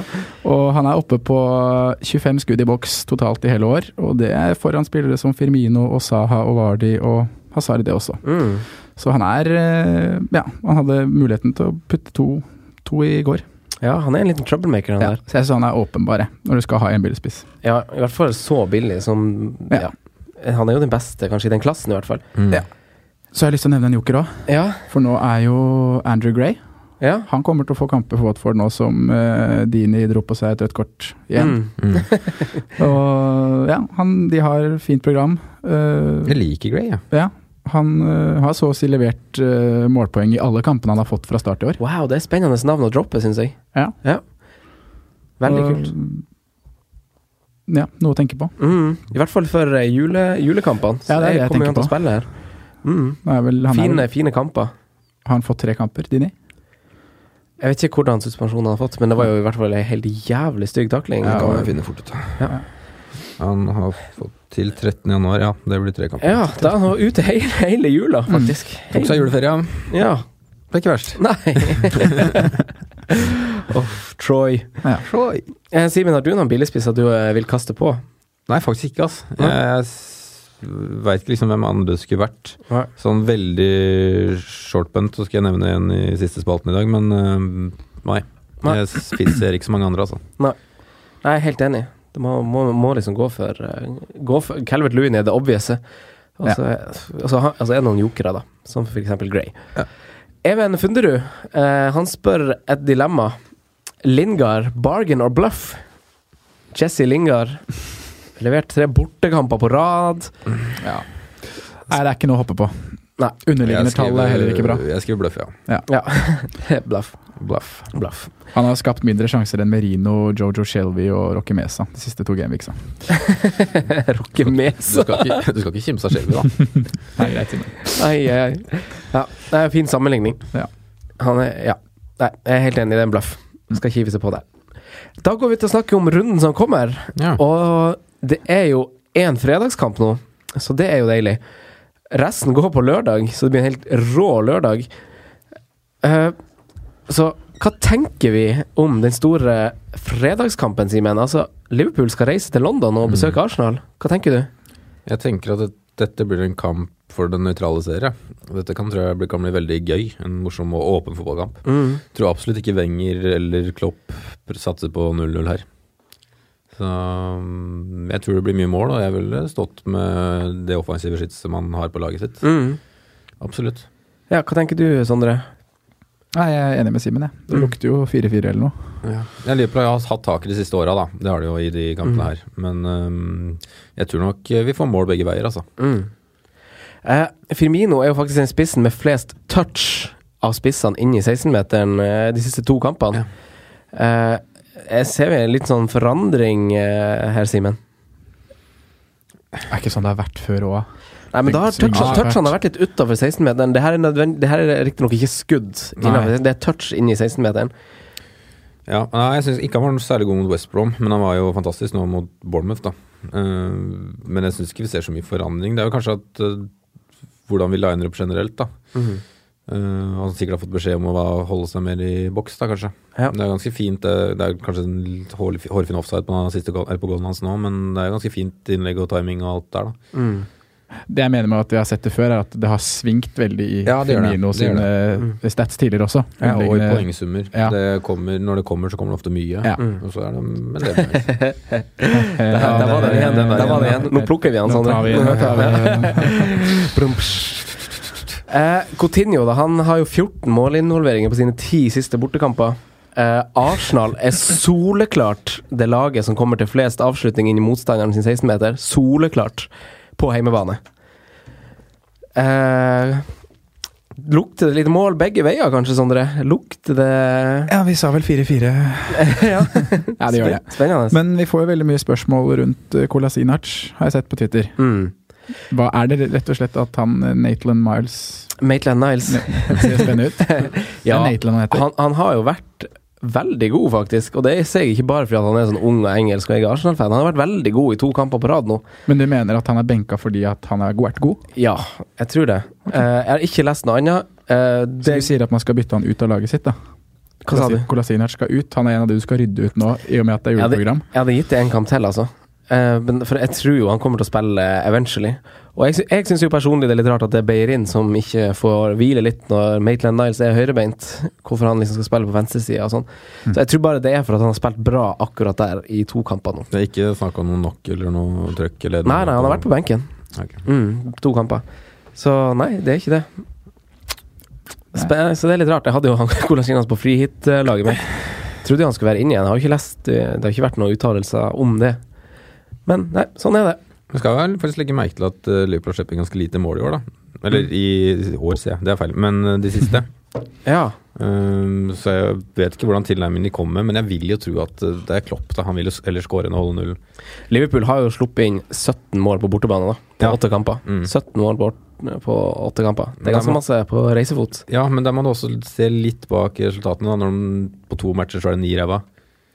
S5: Og han er oppe på 25 skudd i boks totalt i hele år, og det er foran spillere som Firmino og Saha og Vardi og Hazard, det også.
S3: Mm.
S5: Så han er eh, Ja, han hadde muligheten til å putte to, to i går.
S3: ja, han er en liten troublemaker, han
S5: Ja,
S3: der.
S5: så jeg synes han er åpenbar, jeg, når du skal ha en billigspiss.
S3: Ja, I hvert fall så billig som ja.
S5: Ja.
S3: Han er jo den beste, kanskje, i den klassen, i hvert fall.
S4: Mm.
S5: Ja. Så har jeg lyst til å nevne en joker òg,
S3: Ja,
S5: for nå er jo Andrew Gray
S3: ja.
S5: Han kommer til å få kamper for Watford nå som eh, Dini dro på seg et rødt kort igjen.
S3: Mm.
S4: Mm.
S5: Og ja, han, de har fint program. Eh,
S4: Jeg liker Gray, jeg.
S5: ja, han eh, har så å si levert eh, målpoeng i alle kampene han har fått fra start i år.
S3: Wow, det er spennende navn å droppe, syns jeg.
S5: Ja.
S3: Veldig
S5: Og-
S3: kult.
S5: Ja, noe å tenke på.
S3: Mm. I hvert fall for eh, jule, julekampene. Så
S5: Ja, det er det jeg
S3: kommer jo
S5: tenker
S3: han til å
S5: på.
S3: spille her. Mm.
S5: Nå Er vel, han er vel-
S3: Fine, fine kamper.
S5: Har han fått tre kamper, Dini?
S3: Jeg vet ikke hvordan suspensjonen han har fått, men det var jo i hvert fall ei helt jævlig stygg takling.
S4: Det
S3: Ja,
S4: kan man jo finne fort ut.
S3: Ja.
S4: Han har fått til 13. januar, ja. Det blir tre kamper.
S3: da han var ute hele, hele jula, faktisk.
S4: Mm. Tok seg juleferie, ja.
S3: Ja.
S4: Det er ikke verst. [laughs]
S3: Nei. Uff, Troy. Eh, Simen, har du noen billigspisser du eh, vil kaste på?
S4: Nei, faktisk ikke, ass. Jeg veit ikke liksom hvem andre skulle vært.
S3: Nei.
S4: Sånn veldig shortbent, så skal jeg nevne en i siste spalten i dag, men eh, nei.
S3: Nei.
S4: Jeg spiser ikke så mange andre, altså.
S3: Nei, jeg er helt enig. Du må, må, må liksom gå for, eh, gå for Calvert Lewin er det obvious. Og så og så ha- altså er det noen jokere, da, som for eksempel Gray. Even Funderud, eh, han spør et dilemma. Lingard, bargain or bluff? Jesse Lingard levert tre bortekamper på rad.
S5: Nei, det er ikke noe å hoppe på.
S3: Nei.
S5: Underliggende
S4: Jeg
S5: tall
S4: skriver-
S5: er heller ikke bra.
S4: Jeg skriver bløff, ja.
S3: Ja, [laughs] bluff. Bluff. Bluff. [laughs]
S5: Han har skapt mindre sjanser enn Merino, Jojo Shelby og Rocky Mesa de siste to gameweeksa.
S3: Rocker
S4: Du
S3: Mesa. [laughs]
S4: skal ikke, du skal ikke kimse av Shelby, da.
S3: Ai, ai, ai. Ja, det er en fin sammenligning.
S5: Ja.
S3: Han er, ja. Nei, jeg er helt enig, det er en bluff. Skal kive seg på det. Da går vi til å snakke om runden som kommer.
S4: Ja.
S3: Og det er jo én fredagskamp nå, så det er jo deilig. Resten går på lørdag, så det blir en helt rå lørdag. Eh, så hva tenker vi om den store Mm. fredagskampen, Simen? Altså, Liverpool skal reise til London og besøke Arsenal. Hva tenker du?
S4: Jeg tenker at det, dette blir en kamp for den nøytrale serie. Dette kan, tror jeg bli- kan bli veldig gøy. En morsom og åpen fotballkamp.
S3: Mm.
S4: Tror absolutt ikke Wenger eller Klopp pr- satser på 0-0 her. Så mm, jeg tror det blir mye mål, og jeg ville stått med det offensive skytset man har på laget sitt.
S3: Mm.
S4: Absolutt.
S3: Ja, hva tenker du, Sondre?
S5: Nei, jeg er enig med Simen, jeg. Det lukter jo 4-4 eller noe.
S4: Ja, Liverpool har hatt tak i de siste åra, da. Det har de jo i de
S3: Mm.
S4: kampene her. Men øhm, jeg tror nok vi får mål begge veier, altså.
S3: Mm. Eh, Firmino er jo faktisk den spissen med flest touch av spissene inni 16-meteren eh, de siste to kampene. Eh, jeg ser vi en litt sånn forandring eh, her, Simen.
S5: Det er ikke sånn det har vært før òg.
S3: Nei, men da har
S5: Tenk så mye
S3: touchene,
S5: det har
S3: touchene har vært litt utafor 16-meteren. Det her er, nødvend- det her er riktignok ikke skudd, innenfor,
S4: Nei.
S3: det er touch inni 16-meteren.
S4: Ja, nei, jeg syns ikke han var noe særlig god mot West Brom, men han var jo fantastisk nå mot Bournemouth, da. Eh, men jeg syns ikke vi ser så mye forandring. Det er jo kanskje at eh, hvordan vi liner opp generelt, da.
S3: Mhm.
S4: Eh, han sikkert har fått beskjed om å va- holde seg mer i boks, da, kanskje.
S3: Ja.
S4: Det er ganske fint. eh, Det, det er kanskje en litt hår, hårfin offside på, den siste, goal- eller på goalen hans nå, men det er jo ganske fint innlegg og timing og alt der, da.
S3: Mm.
S5: Det jeg mener med at vi har sett det før, er at det har svingt veldig i
S4: Ja, det gjør det.
S5: Firmino
S4: Det gjør
S5: sine eh, stats tidligere også.
S4: Ja, og i
S5: Underliggende-
S4: poengsummer.
S5: Ja.
S4: Det kommer, når det kommer, så kommer det ofte mye.
S5: Ja.
S4: Og så er det, men det
S3: [laughs]
S4: er nice.
S5: Eh,
S3: Der, der var det igjen.
S5: eh,
S3: Der var det igjen. Nå plukker vi han,
S5: Nå
S3: Sondre.
S5: tar vi, nå tar vi.
S3: Eh, Coutinho da, han har jo 14 målinvolveringer på sine ti siste bortekamper. Eh, Arsenal er soleklart det laget som kommer til flest avslutning inn i motstanderen sin 16-meter. Soleklart på heimebane. Eh, lukter det litt mål begge veier, kanskje, Sondre? Lukter [laughs] det
S5: Ja, vi sa vel
S3: Ja.
S5: 4-4. Ja, det gjør det.
S3: Spennende.
S5: Men vi får jo veldig mye spørsmål rundt eh, Kolasinac, har jeg sett på Twitter.
S3: Mm.
S5: Hva Er det rett og slett at han eh, Nathan Miles
S3: Maitland Niles.
S5: [laughs] ser spennende ut? Det
S3: Ja,
S5: er Nathan han heter.
S3: han, han har jo vært veldig god, faktisk. Og det sier jeg ikke bare fordi at han er sånn ung og engelsk og jeg er Arsenal-fan. Han har vært veldig god i to kamper på rad nå.
S5: Men du mener at han er benka fordi at han er vært god?
S3: Ja, jeg tror det. Eh, jeg har ikke lest noe annet. Eh,
S5: Så
S3: det,
S5: du sier at man skal bytte han ut av laget sitt, da?
S3: hva sa du?
S5: Kolasinac skal ut. Han er en av de du skal rydde ut nå, i og med at det er
S3: Ja, det-
S5: juleprogram.
S3: Jeg hadde gitt det en kamp til, altså. Eh, men for jeg tror jo han kommer til å spille eventually. Og jeg, sy- jeg syns jo personlig det er litt rart at det er Beirin som ikke får hvile litt når Maitland Niles er høyrebeint. Hvorfor han liksom skal spille på venstresida og sånn. Så jeg tror bare det er for at han har spilt bra akkurat der i to kamper nå.
S4: Det er ikke snakk om noe knock eller noe trøkk eller
S3: Nei, nei, han har vært på benken.
S4: Ok.
S3: Mm, to kamper. Så nei, det er ikke det. Spe så det er litt rart. Jeg hadde jo han [laughs] Kolasinas på frihit-laget mitt. Trodde jo han skulle være inne igjen. Jeg har jo ikke lest eh, Det har ikke vært noen uttalelser om det. Men nei, sånn er det.
S4: Vi skal vel faktisk legge merke til at eh, Liverpool har sluppet inn ganske lite mål i år, da. Eller i år, sier jeg. Det er feil. Men eh, de siste.
S3: Ja.
S4: Um, så jeg vet ikke hvordan tilnærmingen de kommer med, men jeg vil jo tro at eh, det er Klopp. da Han vil jo s- ellers skåre enn å holde null.
S3: Liverpool har jo sluppet inn 17 mål på bortebane, da. På
S4: Ja.
S3: åtte kamper.
S4: Mm.
S3: 17 mål bort på åtte kamper. Det
S4: Men
S3: er
S4: da
S3: ganske
S4: må-
S3: masse på reisefot.
S4: Ja, men der må du også se litt bak resultatene. da Når de, På to matcher så er det ni ræva.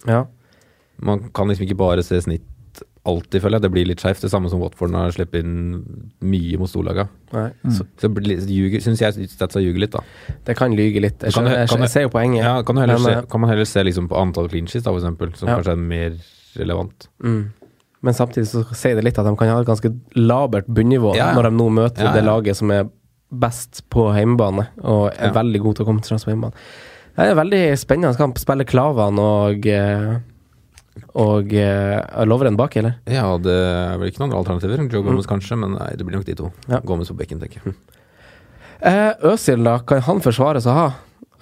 S3: Ja.
S4: Man kan liksom ikke bare se snitt alltid, føler jeg. Det blir litt skeivt. Det samme som Watford har sluppet inn mye mot storlaga.
S3: Nei.
S4: Så, så syns jeg statsa ljuger litt, da.
S3: Det kan lyge litt. Jeg,
S4: Kan
S3: skjønner,
S4: du-
S3: jeg,
S4: kan du-
S3: jeg ser jo poenget.
S4: Ja, kan, du heller
S3: men,
S4: se, kan man heller se liksom på antall clean sheets, da, for eksempel, som
S3: Ja.
S4: kanskje er mer relevant.
S3: Mm. Men samtidig så sier det litt at de kan ha et ganske labert bunnivå
S4: Ja, ja.
S3: når de nå møter
S4: Ja, ja.
S3: det laget som er best på hjemmebane, og er
S4: Ja.
S3: veldig god til å komme til transfer på hjemmebane. Det er en veldig spennende kamp. Spiller Klavan og eh, og eh, Lovren bak, eller?
S4: Ja, det er vel ikke noen andre alternativer. Joe Gomez kanskje, men nei, det blir nok de to.
S3: Ja.
S4: Gomez på bekken, tenker jeg.
S3: Eh, Øzil, da. Kan han forsvares å ha?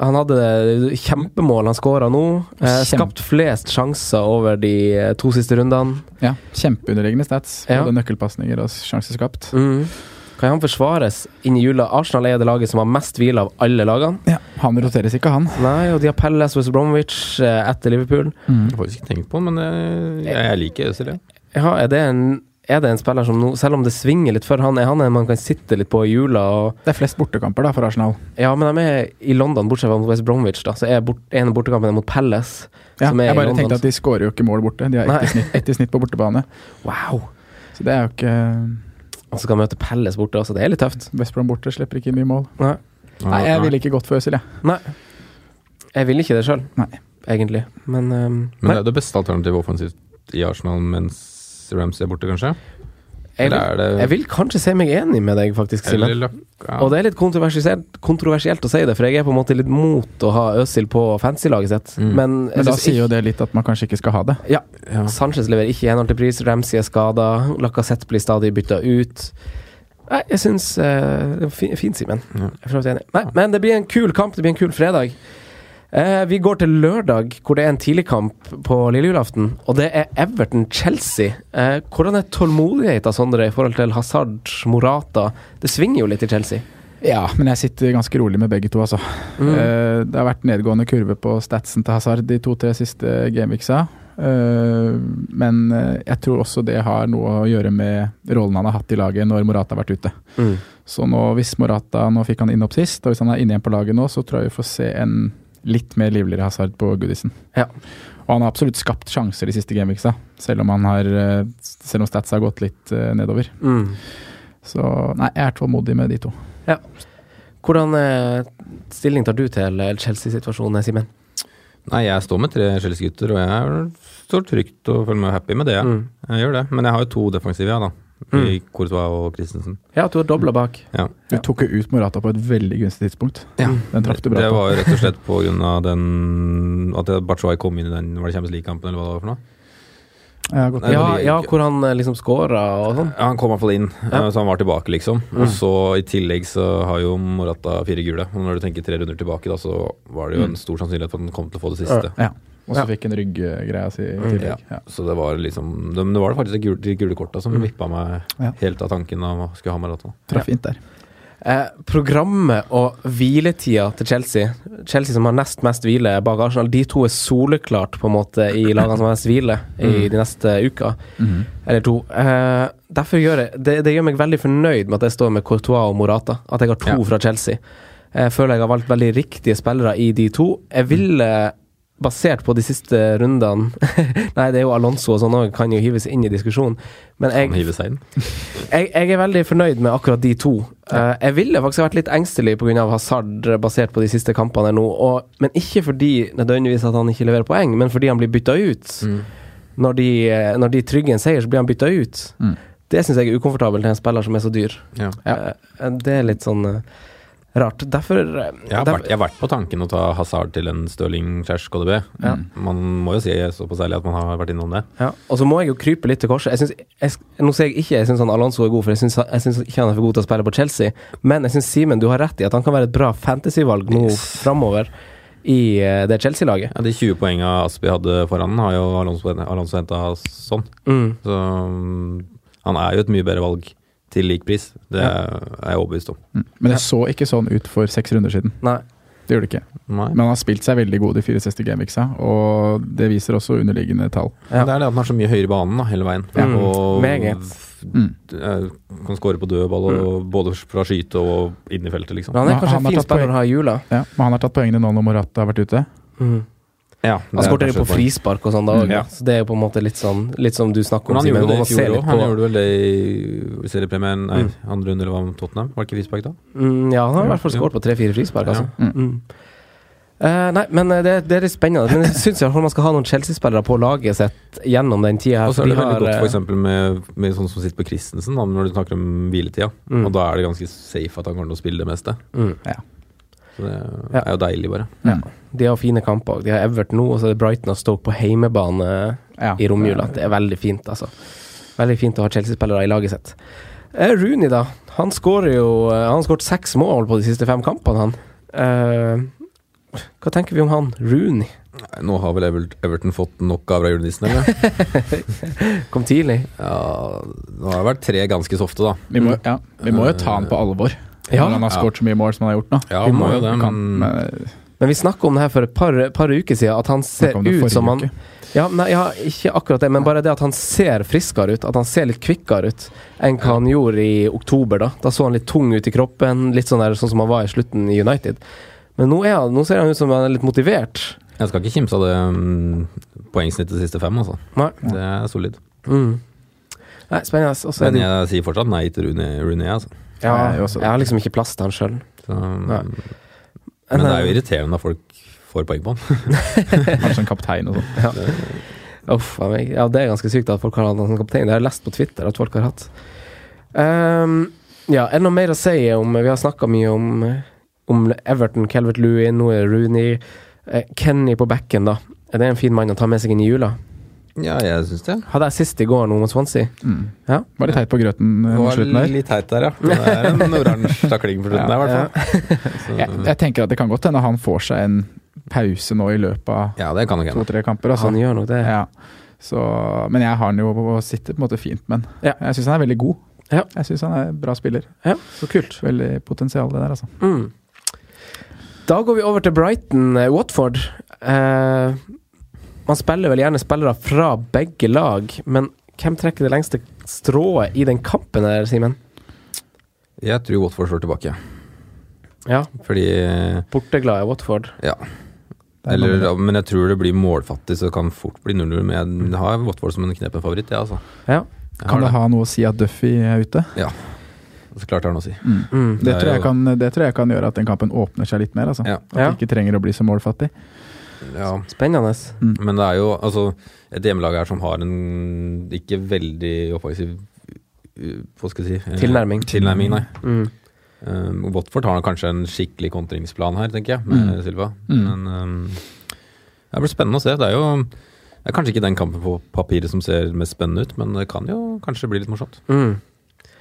S3: Han hadde kjempemål han skåra nå. Eh,
S5: Kjempe-
S3: skapt flest sjanser over de eh, to siste rundene.
S5: Ja, Kjempeunderliggende stats.
S3: Ja.
S5: Både nøkkelpasninger og sjanser skapt.
S3: Mm. Kan han forsvares inn i jula? Arsenal er det laget som har mest hvile av alle lagene.
S5: Ja, Han roteres ikke, han.
S3: Nei, og de har Pelles West Bromwich eh, etter Liverpool.
S4: Jeg har faktisk ikke tenkt på det, men eh, jeg, jeg, jeg liker Øzil, jeg.
S3: Ja, er, det en, er det en spiller som nå, selv om det svinger litt for han, er han en man kan sitte litt på i jula? Og,
S5: Det er flest bortekamper da for Arsenal.
S3: ja, men de er i London, bortsett fra mot West Bromwich, da. Så er bort, en av bortekampene mot Pelles.
S5: Ja,
S3: Som er
S5: jeg
S3: i
S5: bare
S3: London,
S5: tenkte at de skårer jo ikke mål borte. De har
S3: Nei.
S5: ett i snitt, ett i snitt på bortebane.
S3: Wow!
S5: Så det er jo ikke
S3: [laughs] Og så skal han møte Pelles borte også, det er litt tøft.
S5: West Brom borte slipper ikke inn mye mål.
S3: Nei,
S5: Nei, jeg ville ikke gått for Øzil, jeg.
S3: jeg vil ikke det sjøl,
S5: Nei.
S3: egentlig. Men, ehm,
S4: Men
S3: nei.
S4: det er det beste alternativet offensivt i Arsenal mens Ramsey er borte, kanskje?
S3: Jeg,
S4: Eller er det-
S3: jeg vil kanskje si meg enig med deg, faktisk, Silje.
S4: Eller Løkka.
S3: Og det er litt kontroversielt, kontroversielt å si det, for jeg er på en måte litt mot å ha Øsil på fancy-laget sitt. Men, jeg
S5: Men da
S3: synes
S5: sier jo det litt at man kanskje ikke skal ha det.
S3: Mm. Ja. Sanchez leverer ikke i henhold til pris, Ramsey er skada, Lacassette blir stadig bytta ut. Nei, jeg syns eh, det er fi- Fint, Simen. Jeg er for så vidt enig. Nei, men det blir en kul kamp, det blir en kul fredag. Eh, vi går til lørdag, hvor det er en tidligkamp på lille julaften. Og det er Everton-Chelsea. Eh, hvordan er tålmodigheten, Sondre, i forhold til Hazard, Morata? Det svinger jo litt i Chelsea.
S5: Ja, men jeg sitter ganske rolig med begge to, altså.
S3: Mm.
S5: Eh, det har vært nedgående kurve på statsen til Hazard de to-tre siste gameweeksa. Eh, men eh, jeg tror også det har noe å gjøre med rollen han har hatt i laget når Morata har vært ute.
S3: Mm.
S5: Så nå, hvis Morata nå fikk han inn opp sist, og hvis han er inne igjen på laget nå, så tror jeg vi får se en litt mer livligere Hazard på Goodison.
S3: Ja.
S5: Og han har absolutt skapt sjanser de siste gameweeksa, selv om, han har, eh, selv om stats har gått litt eh, nedover.
S3: Mm.
S5: Så nei, jeg er tålmodig med de to.
S3: Ja. Hvordan eh, stilling tar du til eh, Chelsea-situasjonen, Simen?
S4: Nei, jeg står med tre Chelsea-gutter, og jeg står trygt og føler meg happy med det. Jeg,
S3: Mm.
S4: jeg gjør det. Men jeg har jo to defensive, jeg, da. I
S3: Mm.
S4: Courtois og Christensen.
S3: Ja, du har dobla bak.
S4: Ja.
S5: Du tok jo ut Morata på et veldig gunstig tidspunkt. Mm. Den traff du bra
S4: Det
S5: på.
S4: var jo rett og slett på grunn av den At Bachoy kom inn i den Var det Champions League-kampen, eller hva det var for noe?
S5: Ja, godt.
S4: Nei,
S3: Ja,
S4: det blir
S3: ja
S4: ikke-
S3: hvor han eh, liksom scora og sånn.
S4: Ja, han kom i hvert fall inn,
S3: Ja.
S4: eh, så han var tilbake, liksom. Og så i tillegg så har jo Morata fire gule. Og når du tenker tre runder tilbake, da, så var det jo en stor sannsynlighet for at han kom til å få det siste.
S5: Ja. Og så fikk en rygggreia si i
S4: Ja.
S5: tillegg. Ja.
S4: Så det Mm. var liksom Det, men det var faktisk de gule, de gule korta som vippa meg
S5: Ja.
S4: helt av tanken av å skulle ha Morata.
S5: Traff fint der.
S3: Eh, programmet og hviletida til Chelsea Chelsea som har nest mest hvile bak Arsenal, de to er soleklart på en måte i lagene som har mest hvile i de neste uka. Eller to. Eh, derfor gjør jeg, det, det gjør meg veldig fornøyd med at jeg står med Courtois og Morata. At jeg har to
S4: Ja.
S3: fra Chelsea. Jeg føler jeg har valgt veldig riktige spillere i de to. Jeg ville Basert på de siste rundene [laughs] Nei, det er jo Alonso og sånn òg, kan jo hives inn i diskusjonen. Men jeg
S4: Han hiver seg inn.
S3: jeg, jeg er veldig fornøyd med akkurat de to. Eh, jeg ville faktisk vært litt engstelig pga. Hazard, eh, basert på de siste kampene nå. Og, men ikke fordi nødvendigvis at han ikke leverer poeng, men fordi han blir bytta ut. Når, de, eh, når de trygger en seier, så blir han bytta ut.
S5: Mm.
S3: Det syns jeg er ukomfortabelt til en spiller som er så dyr.
S4: Ja.
S3: Eh, det er litt sånn eh, rart. Derfor, eh,
S4: Jeg, har
S3: derfor
S4: vært, jeg har vært på tanken å ta Hazard til en Stirling slash KDB. Man må jo si såpass ærlig at man har vært innom det.
S3: ja. Og så må jeg jo krype litt til korset. Jeg synes, jeg, sk- nå sier jeg ikke jeg syns Alonso er god, for jeg syns jeg syns ikke han er for god til å spille på Chelsea. Men jeg syns Simen, du har rett i at han kan være et bra fantasyvalg nå
S4: Yes.
S3: framover i eh, det Chelsea-laget.
S4: Ja, de 20 poenga Aspi hadde foran han, har jo Alonso, Alonso henta sånn.
S3: Mm.
S4: Så mm, han er jo et mye bedre valg til lik pris. Det er er jeg overbevist om.
S5: Mm. Men det så ikke sånn ut for seks runder siden.
S3: Nei.
S5: Det gjorde det ikke.
S4: Nei.
S5: Men han har spilt seg veldig god de 64 gameweeksa, og det viser også underliggende tall.
S3: Ja.
S4: Det er det at han er så mye høyere i banen da, hele veien.
S3: Ja.
S4: Og
S3: Meget. Mm.
S4: f-
S5: Mm.
S4: eh, kan skåre på dødball og, både fra skyte og inn i feltet, liksom.
S3: Men han er
S5: Ja,
S3: kanskje
S5: han
S3: en
S5: har
S3: fin
S5: tatt
S3: spiller
S5: poeng.
S3: å ha i jula.
S5: Ja, men han har tatt poengene nå når Morata har vært ute.
S4: Ja, det
S3: Han skårer
S4: er
S3: jo
S4: kanskje
S3: på
S4: et poeng.
S3: frispark og sånn da òg,
S4: Ja.
S3: så det er jo på en måte litt sånn Litt som du snakker om,
S4: Men han
S3: Simen.
S4: gjorde det
S3: man
S4: i
S3: må se
S4: fjor
S3: litt
S4: òg. Han
S3: på-
S4: gjorde vel det i seriepremien, nei, andre runde, eller hva, med Tottenham? Var det ikke frispark da?
S3: Mm, ja, han har i hvert fall skåret på tre-fire frispark, altså. Mm. Eh, nei, men eh, det, det er litt spennende. Men jeg syns man skal ha noen Chelsea-spillere på laget sitt gjennom den tida her.
S4: Og så
S3: for de
S4: er det veldig
S3: har,
S4: godt
S3: eh,
S4: for eksempel med, med sånn som sitter på Christensen, da, når du snakker om hviletida.
S3: Mm.
S4: Og da er det ganske safe at han kommer til å spille det meste.
S3: mm.
S4: Så det
S3: Ja.
S4: er jo deilig, bare.
S3: De har fine kamper. De har Everton nå, og så er det Brighton og Stoke på heimebane
S5: Ja.
S3: i romjula. Det er veldig fint, altså. Veldig fint å ha Chelsea-spillere i laget sitt. Eh, Rooney, da. Han skårer jo eh, Han har skåret seks mål på de siste fem kampene, han. Eh, hva tenker vi om han? Rooney
S4: Nei, Nå har vel Ever- Everton fått nok av julenissen, eller? [laughs]
S3: kom tidlig.
S4: ja, nå har det vært tre ganske softe, da.
S5: Vi må, ja, vi må jo ta han på alvor,
S3: Ja.
S5: når han har skåret så mye mål som han har gjort nå.
S4: Ja,
S3: Vi
S4: han
S3: må
S4: må jo det,
S5: Vi kan,
S4: men
S5: men,
S3: Men vi snakka om det her for et par, par uker siden, at han ser
S5: om det
S3: ut
S5: forrige
S3: som han
S5: uke.
S3: ja, nei, ja, Ikke akkurat det, men bare det at han ser friskere ut. At han ser litt kvikkere ut enn hva han gjorde i oktober. Da Da så han litt tung ut i kroppen, litt sånn, der, sånn som han var i slutten i United. Men nå, er han, nå ser han ut som han er litt motivert.
S4: jeg skal ikke kimse av det mm, poengsnittet de siste fem, altså.
S3: Nei,
S4: Det er solid.
S3: mm. nei spennende. ass. Og så er
S4: Men
S3: det,
S4: jeg sier fortsatt nei til Rune, Rune altså.
S3: ja,
S5: jeg er jo også-
S3: jeg har liksom ikke plass til han sjøl.
S4: Så,
S3: Nei.
S4: mm, men eh, det er jo irriterende når folk får poeng på han.
S5: eh, kanskje en kaptein og sånn.
S3: Uff, faen meg. ja, det er ganske sykt at folk har hatt han som kaptein. Det har jeg lest på Twitter at folk har hatt. Ehm, ja, er det noe mer å si om Vi har snakka mye om, om Everton, Calvert Lewin, nå er det Rooney. eh, Kenny på bekken, da. Er det en fin mann å ta med seg inn i jula?
S4: Ja, jeg syns det.
S3: Hadde jeg sist i går nå mot Swansea. Ja.
S5: Mm. Var litt teit på grøten eh, mot
S4: var
S5: slutten der.
S4: litt teit der, ja. Det er en oransje takling på slutten der, i hvert fall.
S5: [laughs] Jeg, jeg tenker at det kan godt hende han får seg en pause nå i løpet av
S4: Ja, det kan nok hende.
S5: to-tre kamper. Altså.
S3: Han gjør nok det.
S5: Ja. Så, men jeg har han jo på å sitte på en måte fint med.
S3: Ja.
S5: Jeg syns han er veldig god.
S3: Ja.
S5: Jeg syns han er en bra spiller.
S3: Ja, så kult.
S5: Veldig potensial, det der, altså.
S3: Mm. Da går vi over til Brighton, eh, Watford. Eh, man spiller vel gjerne spillere fra begge lag, men hvem trekker det lengste strået i den kampen her, Simen?
S4: Jeg tror Watford slår tilbake.
S3: Ja,
S4: Fordi
S3: borteglade Watford.
S4: Ja.
S5: er
S4: Eller,
S5: mange-
S4: ja, men jeg tror det blir målfattig, så det kan fort bli 0-0. Men jeg har Watford som en knepen favoritt, jeg, altså.
S3: Ja.
S4: Jeg
S5: Kan det ha noe å si at Duffy er ute?
S4: Så klart det har noe å si.
S3: Mm.
S4: Det
S5: Det
S4: er
S5: tror, jeg
S4: jo-
S5: kan, det tror jeg kan gjøre at den kampen åpner seg litt mer. Altså.
S4: Ja.
S5: At det
S3: Ja.
S5: ikke trenger å bli så målfattig.
S4: Ja.
S3: Spennende.
S4: Men det er jo altså, et hjemmelag her som har en ikke veldig offensiv uh, Hva skal jeg si eh,
S3: Tilnærming.
S4: Tilnærming, nei.
S3: Mm.
S4: Um, Watford har kanskje en skikkelig kontringsplan her, tenker jeg, med Silva.
S5: Mm.
S4: Men um, det blir spennende å se. Det er jo det er kanskje ikke den kampen på papiret som ser mest spennende ut, men det kan jo kanskje bli litt morsomt.
S3: Mm.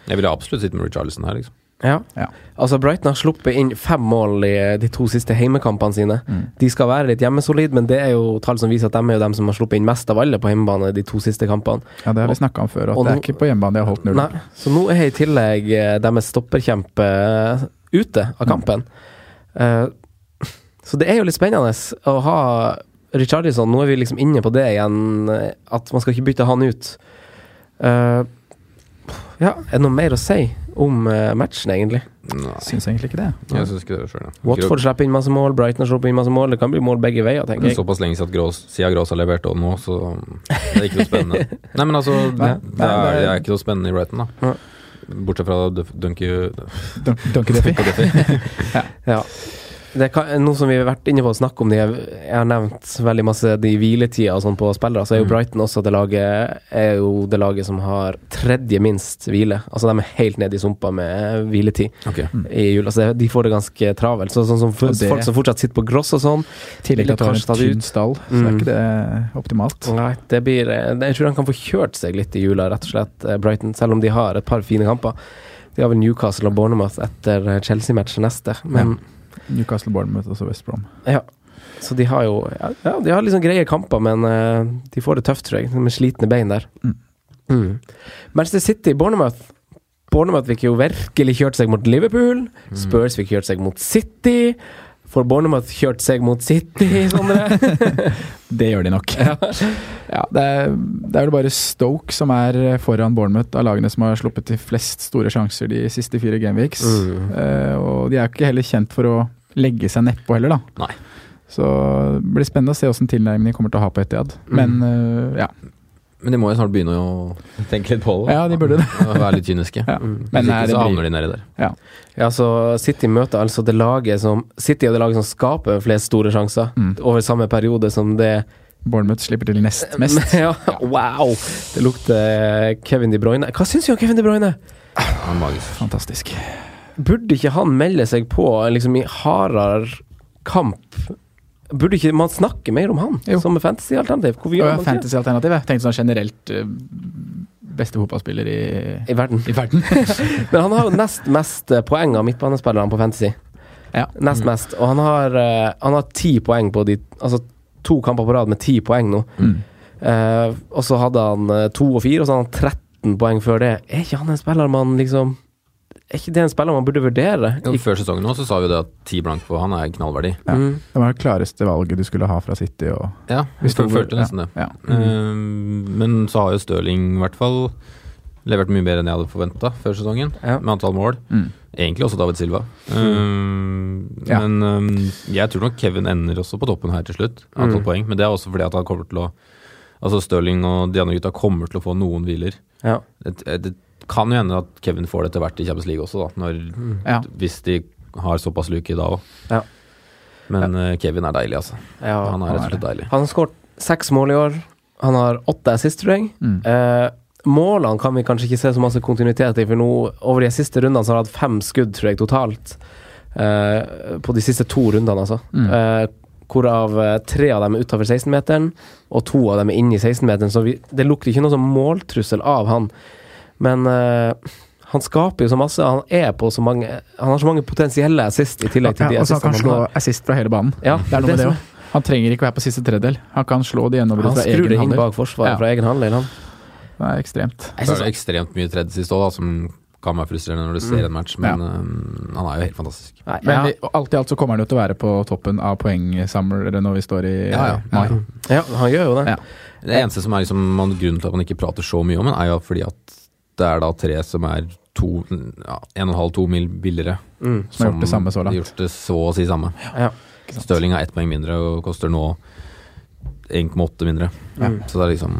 S4: Jeg ville absolutt sitte med Richarlison her, liksom.
S3: Ja.
S5: Ja.
S3: Altså, Brighton har sluppet inn fem mål i eh, de to siste heimekampene sine. De skal være litt hjemmesolid, men det er jo tall som viser at de er jo dem som har sluppet inn mest av alle på hjemmebane de to siste kampene.
S5: Ja, det har vi snakka om før, at
S3: og
S5: det
S3: nå-
S5: er ikke på hjemmebane de har holdt null.
S3: Nei, så nå er i tillegg eh, deres stopperkjempe eh, ute av kampen. Eh, Så det er jo litt spennende å ha Richarlison. Nå er vi liksom inne på det igjen, eh, at man skal ikke bytte han ut. Eh, Ja, er det noe mer å si om eh, matchen, egentlig?
S4: Nei,
S5: Syns egentlig ikke det.
S4: jeg syns ikke det sjøl, ja. altså.
S3: Watford slipper inn masse mål, Brighton har sluppet inn masse mål. Det kan bli mål begge veier, tenker
S4: Det
S3: jeg.
S4: er såpass lenge siden at Grås, siden Grås har levert og nå, så det er ikke noe spennende. Nei, men altså, det,
S5: Nei,
S4: det,
S5: nei,
S4: er,
S5: det-
S4: det er ikke noe spennende i Brighton, da.
S3: Nei.
S4: Bortsett fra Duff- Dunky
S5: Dun- Duncan
S4: [laughs]
S5: Duffy.
S3: Ja. Det kan, nå som vi har vært inne på å snakke om de, jeg har nevnt veldig masse de hviletider og sånn på spillere, så er jo
S4: Mm.
S3: Brighton også det laget, er jo det laget som har tredje minst hvile. Altså de er helt nede i sumpa med hviletid
S4: Ok.
S3: i jula, så det- de får det ganske travelt. Så, sånn som f-
S5: Og det-
S3: folk som fortsatt sitter på gross og sånn,
S5: I tillegg til at det
S3: Kanskje ta
S5: var
S3: det
S5: en
S3: ut.
S5: tynn stall, så er
S3: Mm.
S5: ikke det optimalt.
S3: nei, det blir eh, Jeg tror de kan få kjørt seg litt i jula, rett og slett, eh, Brighton, selv om de har et par fine kamper. De har vel Newcastle og Bournemouth etter eh, Chelsea-matchen neste, men
S5: Newcastle Bournemouth og så West Brom.
S3: Ja. Så de har jo ja, Ja, de har liksom greie kamper, men eh, de får det tøft, tror jeg, med slitne bein der.
S5: Mm.
S3: Mm. Manchester City, Bournemouth. Bournemouth fikk jo virkelig kjørt seg mot Liverpool.
S5: Mm.
S3: Spurs fikk kjørt seg mot City. For Bournemouth kjørt seg mot City, Sondre.
S5: [laughs] Det gjør de nok. [laughs] Ja. det, er, det er vel bare Stoke som er eh, foran Bournemouth av lagene som har sluppet til flest store sjanser de siste fire gameweeks.
S3: Mm.
S5: Eh, og de er ikke heller kjent for å legge seg nedpå heller, da.
S4: Nei.
S5: Så det blir spennende å se åssen tilnærming de kommer til å ha på Etiad. Men eh, ja.
S4: Men de må jo snart begynne å tenke litt på det.
S5: Ja, de burde det.
S4: Og Være litt kyniske.
S5: Ja. Men
S4: Hvis
S5: nei,
S4: ikke
S5: det
S4: så
S5: blir-
S4: havner de nedi der.
S3: ja, så City møter altså det laget som City er det laget som skaper flest store sjanser
S5: Mm.
S3: over samme periode som det
S5: Bournemouth slipper til nest
S3: [laughs]
S5: mest.
S3: ja, Wow! Det lukter Kevin De Bruyne. Hva syns du om Kevin De Bruyne?
S4: Ja, magisk.
S5: Fantastisk.
S3: Burde ikke han melde seg på liksom, i hardere kamp? Burde ikke man snakke mer om han
S5: Jo.
S3: som et fantasy-alternativ? Hvorfor
S5: Og
S3: gjør
S5: ja,
S3: man ikke det?
S5: Fantasy-alternativet. Tenkte sånn generelt eh, beste fotballspiller i,
S3: I verden.
S5: i [laughs] verden.
S3: Men han har jo nest mest eh, poeng av midtbanespillerne på fantasy.
S5: Ja. Mm.
S3: Nest mest. Og han har, eh, han har ti poeng på de Altså to kamper på rad med ti poeng nå.
S5: Mm.
S3: Eh, og så hadde han eh, to og fire, og så hadde han 13 poeng før det. Er ikke han en spiller man liksom Er ikke det en spiller man burde vurdere?
S4: Jo, Før sesongen nå så sa vi det at ti blank på han er knallverdi.
S5: Ja.
S3: Mm.
S5: Det var det klareste valget du skulle ha fra City. Og
S4: Ja, vi følte nesten det.
S5: Ja.
S4: Eh, Men så har jo Stirling i hvert fall levert mye bedre enn jeg hadde forventa før sesongen,
S3: Ja.
S4: med antall mål.
S5: Mm.
S4: Egentlig også David Silva. Eh,
S5: Ja.
S4: Men eh, jeg tror nok Kevin ender også på toppen her til slutt, antall poeng. Men det er også fordi at han kommer til å Altså Stirling og de andre gutta kommer til å få noen hviler.
S3: Ja.
S4: Det, det kan jo hende at Kevin får det etter hvert i Champions League også, da, når,
S5: Ja.
S4: hvis de har såpass luke da òg.
S3: Ja.
S4: Men eh, Kevin er deilig, altså.
S3: Ja,
S5: han
S4: han er rett og
S5: er
S4: slett deilig.
S3: Han har skåret seks mål i år. Han har åtte assist, tror jeg.
S5: Mm.
S3: Eh, målene kan vi kanskje ikke se så masse kontinuitet i, for nå, over de siste rundene så har han hatt fem skudd, tror jeg, totalt. Eh, på de siste to rundene, altså.
S5: Mm.
S3: Eh, hvorav eh, tre av dem er utafor 16-meteren, og to av dem er inne i 16-meteren, så vi, det lukter ikke noe sånn måltrussel av han. Men eh, han skaper jo så masse, han er på så mange Han har så mange potensielle assist i tillegg til
S5: Ja,
S3: de
S5: og så han kan
S3: assistene
S5: slå
S3: han har.
S5: assist fra hele banen.
S3: Ja,
S5: det er noe med det
S3: som er-
S5: også. Han trenger ikke å være på siste tredel. Han kan slå de gjennom
S3: Han
S5: fra
S3: skrur
S5: egen
S3: det inn
S5: handel.
S3: bak forsvaret
S5: Ja.
S3: fra egen halvdel, han.
S5: Det er ekstremt.
S3: Jeg
S4: Så er
S3: synes
S4: det ekstremt mye tredje sist òg, som kan være frustrerende når du ser en match, men øhm, han er jo helt fantastisk.
S3: Nei,
S5: Men
S3: ja.
S5: vi- og alt i alt så kommer han jo til å være på toppen av poengsamlere når vi står i
S4: Ja, ja.
S5: mai.
S3: ja, han gjør jo det.
S5: Ja.
S4: Det eneste som er liksom, man, grunnen til at man ikke prater så mye om den, er jo fordi at det er da tre som er to, ja, 1,5-2 mil billigere.
S3: Mm,
S5: som har gjort det samme så langt.
S4: Gjort det så å si samme.
S3: Ja.
S4: Stirling har ett poeng mindre og koster nå 1,8 mindre. Så det er liksom